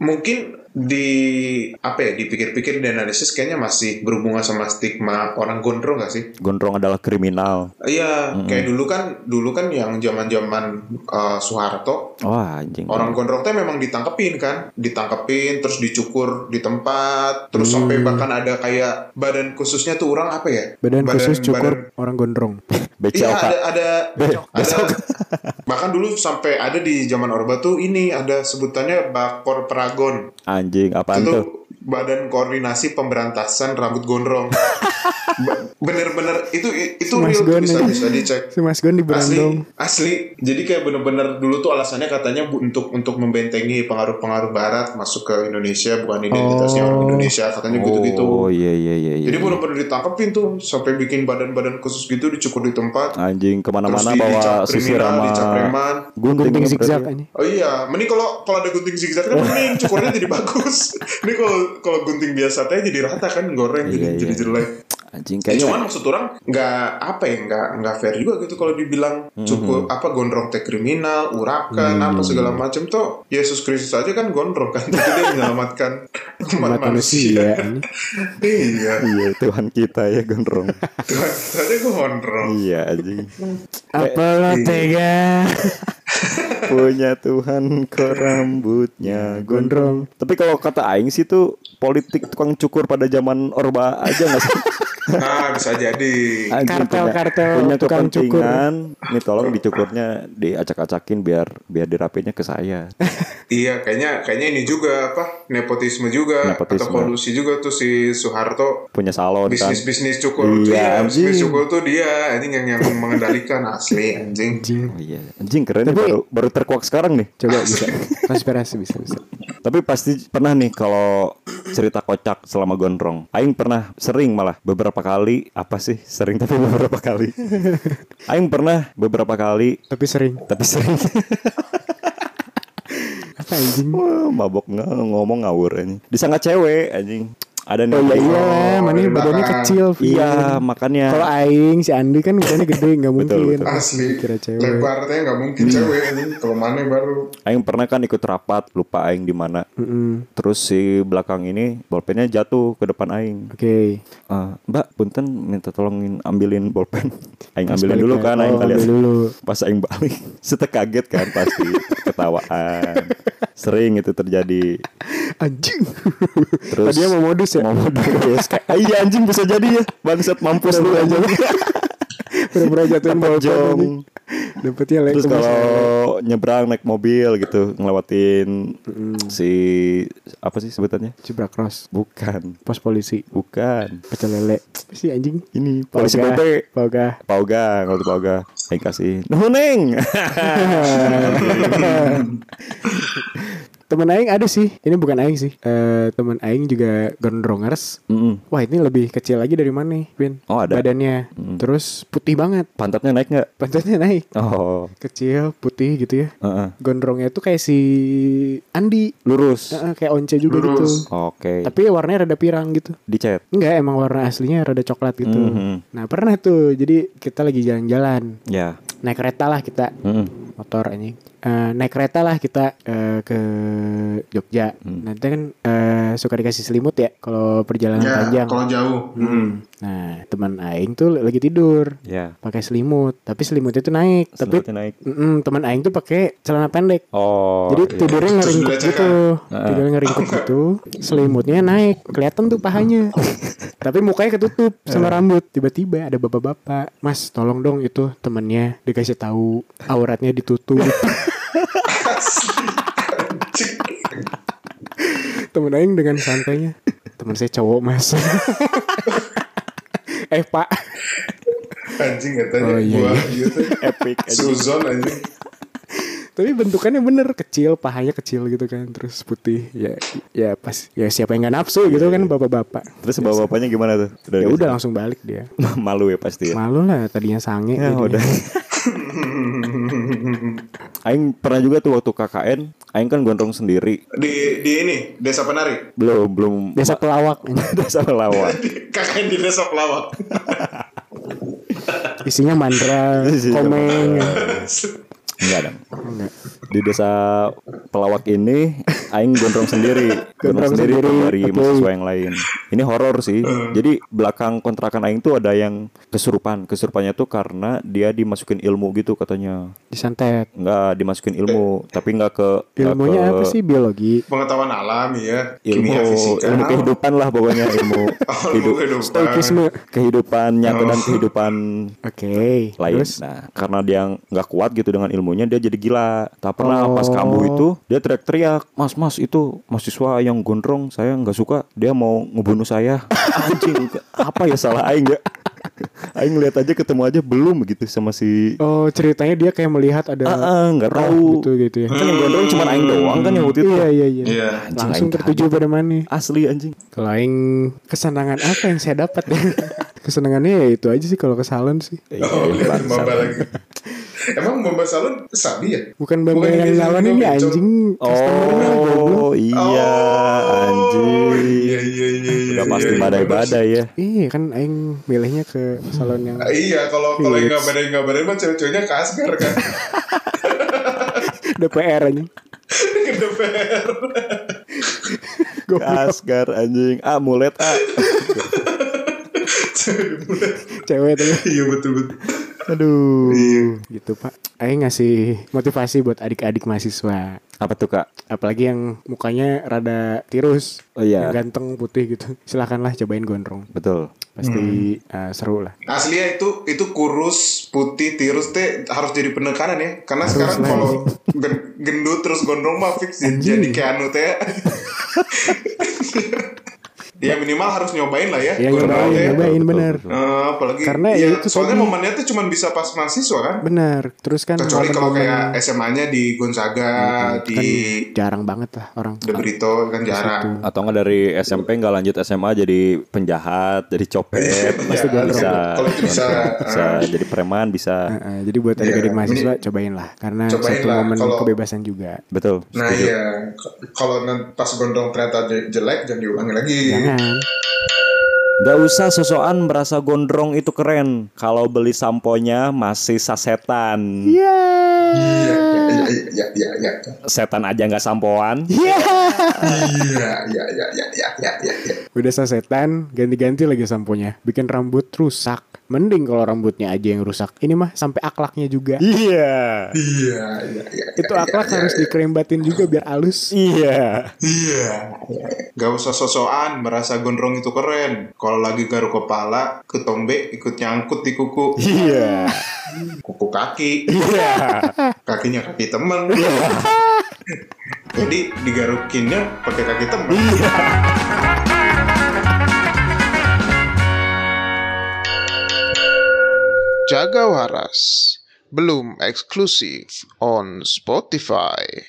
S1: mungkin di apa ya dipikir-pikir dianalisis kayaknya masih berhubungan sama stigma orang gondrong gak sih
S4: Gondrong adalah kriminal.
S1: iya kayak dulu kan dulu kan yang zaman zaman Soeharto
S4: Wah, Oh, anjing.
S1: orang gondrong teh memang ditangkepin kan ditangkepin terus dicukur di tempat terus
S2: Mm.
S1: sampai bahkan ada kayak badan khususnya tuh orang apa ya
S2: Badan, khusus
S1: badan-
S2: cukur orang gondrong.
S1: Iya
S4: BCOK.
S1: ada ada
S4: Be-
S1: ada bahkan dulu sampai ada di zaman Orba tuh ini ada sebutannya bakor peragon
S4: Anjing, apaan
S1: itu
S4: tuh?
S1: badan koordinasi pemberantasan rambut gondrong Ba- bener-bener itu itu
S2: Mas
S1: real tuh,
S2: Gone.
S1: bisa bisa dicek
S2: Si Mas Gon di
S1: asli
S2: berandong.
S1: asli jadi kayak bener-bener dulu tuh alasannya katanya bu, untuk untuk membentengi pengaruh-pengaruh Barat masuk ke Indonesia bukan identitasnya orang Indonesia katanya gitu-gitu
S4: Oh iya iya iya iya.
S1: jadi bener-bener ditangkepin tuh sampai bikin badan-badan khusus gitu dicukur di tempat
S4: anjing kemana-mana
S1: Terus di-
S4: bawa
S1: dicap
S4: sisir
S1: kriminal,
S4: sama
S1: dicap preman.
S4: gunting
S2: Gunting
S4: berarti.
S2: zigzag ini.
S1: Oh iya, mending kalau kalau ada gunting zigzag kan mending cukurnya jadi bagus. Ini kalau kalau gunting biasa teh jadi rata kan goreng jadi
S4: Iya,
S1: jadi
S4: iya.
S1: jelek.
S4: Anjing
S1: Ya,
S4: kayaknya
S1: cuman maksud orang nggak apa ya nggak nggak fair juga gitu kalau dibilang cukup apa gondrong teh kriminal, urakan apa segala macam tuh Yesus Kristus aja kan gondrong kan jadi dia menyelamatkan
S2: Umat manusia. ini.
S1: iya,
S4: iya Tuhan kita ya gondrong.
S1: Tuhan kita aja gondrong.
S4: iya anjing.
S2: Apa lo tega?
S4: Punya Tuhan ke rambutnya gondrong.
S2: Gondrong.
S4: Tapi kalau kata aing sih tuh politik tukang cukur pada zaman Orba aja nggak sih?
S1: Nah bisa jadi.
S4: Anjing,
S2: Kartel-kartel
S4: punya
S2: tukang cukur.
S4: kepentingan, Nih tolong dicukurnya diacak-acakin biar biar dirapinnya ke saya.
S1: Iya, kayaknya kayaknya ini juga apa nepotisme juga
S4: Nepotisme.
S1: atau kolusi juga tuh si Soeharto
S4: Punya salon kan.
S1: bisnis bisnis cukur
S4: Iya,
S1: iya, bisnis
S4: anjing.
S1: cukur tuh dia anjing yang yang mengendalikan asli anjing
S4: Oh iya. Anjing keren nih,
S2: Tapi-
S4: baru baru terkuak sekarang nih.
S2: Coba bisa. Konspirasi bisa bisa.
S4: Tapi pasti pernah nih kalau cerita kocak selama gondrong. Aing pernah sering malah beberapa kali apa sih sering tapi beberapa kali. Aing pernah beberapa kali
S2: Tapi sering.
S4: tapi sering
S2: Apa anjing?
S4: Wah, mabok nggak ngomong ngawur ini. Disangat cewek anjing. Ada nih.
S2: Oh iya, iya, mana
S1: di
S2: badannya
S1: belakang.
S2: kecil. Vin.
S4: Iya, makanya.
S2: Kalau aing si Andi kan badannya gede nggak mungkin.
S4: betul.
S1: asli
S2: Kira cewek.
S1: lebarnya nggak mungkin cewek anjing kalau mana baru
S4: Aing pernah kan ikut rapat, lupa aing di mana. Terus si belakang ini bolpennya jatuh ke depan aing.
S2: Oke.
S4: Ah, Mbak, punten minta tolongin ambilin bolpen. Aing
S2: Pas
S4: ambilin
S2: balik
S4: dulu
S2: lagi.
S4: kan, aing
S2: Oh, ambil
S4: kalian.
S2: dulu.
S4: Pas aing balik, setek kaget kan pasti ketawaan. Sering itu terjadi.
S2: Anjing.
S4: Terus
S2: Tadinya mau modus ya.
S4: Mau modus. Kayak, "Ah, iya anjing bisa jadi ya. Bangsat mampus lu aja.
S2: Pura-pura jatuhin
S4: Dapat
S2: bolpen
S4: jong.
S2: anjing. Dapatnya lagi
S4: Terus kalau nyebrang naik mobil gitu, ngelewatin
S2: Hmm.
S4: si apa sih sebutannya?
S2: Cibra cross.
S4: Bukan,
S2: Pos polisi.
S4: bukan.
S2: Pecel lele. Apa sih anjing.
S4: Ini polisi
S2: Pauga,
S4: BP.
S2: Pauga.
S4: Pauga, kalau Pauga, yang kasih. Nuhun, Neng.
S2: Temen Aing ada sih Ini bukan Aing sih Eh Temen Aing juga gondrongers
S4: Mm-mm.
S2: Wah ini lebih kecil lagi dari mana nih Vin
S4: Oh, ada.
S2: Badannya Terus putih banget
S4: Pantatnya naik nggak?
S2: Pantatnya naik
S4: Oh,
S2: Kecil putih gitu ya
S4: heeh.
S2: Gondrongnya tuh kayak si Andi
S4: lurus.
S2: Eh, eh, Kayak once juga gitu
S1: Lurus.
S4: Oke.
S2: Tapi warnanya rada pirang gitu
S4: Dicet.
S2: Enggak emang warna aslinya rada coklat gitu
S4: Mhm.
S2: Nah pernah tuh Jadi kita lagi jalan-jalan
S4: Ya.
S2: Naik kereta lah kita
S4: Mm-mm.
S2: motor anjing. Eh, naik kereta lah kita eh, ke Jogja.
S4: Hmm.
S2: Nanti kan eh, suka dikasih selimut ya kalau perjalanan
S1: Ya,
S2: panjang.
S1: kalau jauh. Hmm.
S2: Nah, teman aing tuh lagi tidur.
S4: Ya.
S2: Pakai selimut, tapi selimutnya tuh naik, tapi
S4: Selimutnya naik.
S2: Mm-mm, teman aing tuh pakai celana pendek.
S4: Oh.
S2: Jadi
S4: iya.
S2: tidurnya ngeringkut
S1: dilecehkan.
S2: gitu. Tidurnya ngeringkut gitu, selimutnya naik, kelihatan tuh pahanya. Tapi mukanya ketutup sama rambut. Tiba-tiba ada bapak-bapak, "Mas, tolong dong itu temennya dikasih tahu auratnya ditutup." temen aing dengan santainya, "Temen saya cowok, Mas." eh, Pak.
S1: Anjing katanya
S2: Oh, iya,
S1: gua
S2: iya.
S1: gitu.
S4: epic.
S1: Suzon anjing.
S2: Tapi bentukannya bener kecil, pahanya kecil gitu kan, terus putih. Ya, ya pas ya siapa yang nggak nafsu gitu
S4: Iya,
S2: kan bapak-bapak.
S4: Terus bawa bapaknya gimana tuh? gitu.
S2: Ya udah langsung balik dia.
S4: malu ya pasti ya.
S2: Malu lah tadinya sange
S4: Ya udah.
S2: jadinya.
S4: Aing pernah juga tuh waktu KKN, Aing kan gondrong sendiri.
S1: Di di ini Desa Penari.
S4: Belum belum.
S2: Desa pelawak
S4: desa lawan.
S1: Kakak di Desa Pelawak.
S2: Isinya mandra
S4: Isinya
S2: Komeng
S4: Enggak dong. Di desa pelawak ini Aing gondrong sendiri
S2: Gondrong
S4: Gondrong sendiri,
S2: sendiri,
S4: dari
S2: betul.
S4: mahasiswa yang lain Ini horor sih Jadi belakang kontrakan Aing tuh ada yang kesurupan Kesurupannya tuh karena dia dimasukin ilmu gitu katanya
S2: Disantet
S4: Enggak dimasukin ilmu Tapi enggak ke nggak
S2: Ilmunya
S4: ke
S2: apa sih biologi
S1: Pengetahuan alam ya.
S4: Ilmu,
S1: Kimia fisika.
S4: ilmu kehidupan lah pokoknya Ilmu
S1: Oh, ilmu Oh.
S4: hidup,
S1: kehidupan.
S2: Stoikisme
S4: kehidupan nyata dan kehidupan
S2: Oke
S4: lain.
S2: Terus
S4: Nah, karena dia nggak kuat gitu dengan ilmunya, dia jadi gila. Tak pernah
S2: Oh.
S4: pas kamu itu dia teriak-teriak, "Mas, mas itu mahasiswa yang gondrong, saya nggak suka, dia mau ngebunuh saya." Anjing, apa ya salah aing ya? Aing lihat aja ketemu aja belum gitu sama si
S2: Oh ceritanya dia kayak melihat ada
S4: Ah, ah, nggak tahu.
S2: roh gitu gitu ya
S4: Kan yang gondrong cuma aing doang kan yang waktu itu.
S2: Iya iya iya
S1: Iya.
S2: Langsung
S4: Anjing,
S2: tertuju pada mana
S4: Asli anjing.
S2: Kalau yang kesenangan apa yang saya dapat Kesenangannya ya itu aja sih kalau kesalahan sih
S4: Iya,
S1: Oh,
S2: iya.
S1: lihat Bamba lagi. Emang Bamba Salon sabi ya?
S2: Bukan bangga
S1: Bukan
S2: yang
S1: yang
S2: nyalain ini
S1: ini,
S2: anjing customer-nya gitu.
S4: Oh,
S2: goblok.
S4: iya
S1: Oh,
S4: anjing.
S1: Iya iya iya. iya,
S4: Udah pasti
S1: iya, iya,
S4: badai-badai ya.
S2: Iya kan Aing milihnya ke salon yang
S1: bener. Iya kalau kalau yang
S2: Iya.
S1: ngabarin ngabarin mah cewek-ceweknya kasgar kan.
S2: DPR anjing
S1: Ke DPR.
S2: Goblok
S4: Asgar anjing. Ah, mulet ah.
S2: cewek tuh
S1: Iya betul betul.
S4: Aduh.
S2: Gitu pak Aing ngasih motivasi buat adik-adik mahasiswa
S4: Apa tuh, Kak?
S2: Apalagi yang mukanya rada tirus
S4: Oh, iya.
S2: Yang ganteng putih gitu Silahkanlah cobain gondrong
S4: Betul.
S2: Pasti
S1: Hmm.
S2: eh, seru lah
S1: Aslinya ya, itu itu kurus putih tirus teh harus jadi penekanan ya karena sekarang
S2: lah,
S1: kalau gen- gendut terus gondrong mah fix jadi- jadi Keanu teh ya minimal harus nyobain lah ya
S2: Ya
S1: gondrong teh.
S2: nyobain, nyobain
S4: Betul,
S2: bener
S4: betul,
S1: Eh, apalagi
S2: Karena
S1: ya,
S2: itu
S1: soalnya
S2: tadi-
S1: momennya tuh cuma bisa pas mahasiswa kan
S2: Bener Terus kan
S1: kecuali kalau
S2: momen-momen
S1: kayak SMA-nya di Gonzaga di
S2: kan jarang banget lah orang
S1: The Brito kan jarang
S4: Atau enggak dari SMP nggak lanjut SMA jadi penjahat, jadi copet,
S1: Iya, Pasti gondrong.
S4: bisa.
S1: Kalau itu bisa,
S4: bisa
S1: eh.
S4: jadi preman bisa.
S2: Heeh, Jadi buat adik-adik
S1: Iya,
S2: mahasiswa cobain lah Karena
S1: Cobain
S2: satu
S1: lah,
S2: momen
S1: kalau-
S2: kebebasan juga
S4: Betul.
S1: Nah
S4: setuju.
S1: iya, K- kalau nan- pas gondrong ternyata je- jelek jangan diulangi lagi.
S2: Jangan
S4: Nggak usah sosokan merasa gondrong itu keren. Kalau beli samponya masih sasetan.
S2: Iya
S1: Iya, iya, iya, iya, iya, iya.
S4: Setan aja nggak sampoan.
S1: Iya, iya, iya, iya, iya, iya, iya, iya.
S2: Udah sasetan, ganti-ganti lagi samponya. Bikin rambut rusak. Mending kalau rambutnya aja yang rusak. Ini mah sampai aklaknya juga.
S4: Iya.
S1: Iya, iya, iya,
S2: Itu aklak harus dikrempatin juga biar halus.
S4: Iya.
S1: iya. Gak usah sosokan merasa gondrong itu keren. Kalau lagi garuk kepala, ketombe ikut nyangkut di kuku,
S4: Iya.
S1: kuku kaki,
S4: Iya.
S1: kakinya kaki temen. Jadi digarukinnya pakai kaki temen. Jaga waras belum eksklusif on Spotify.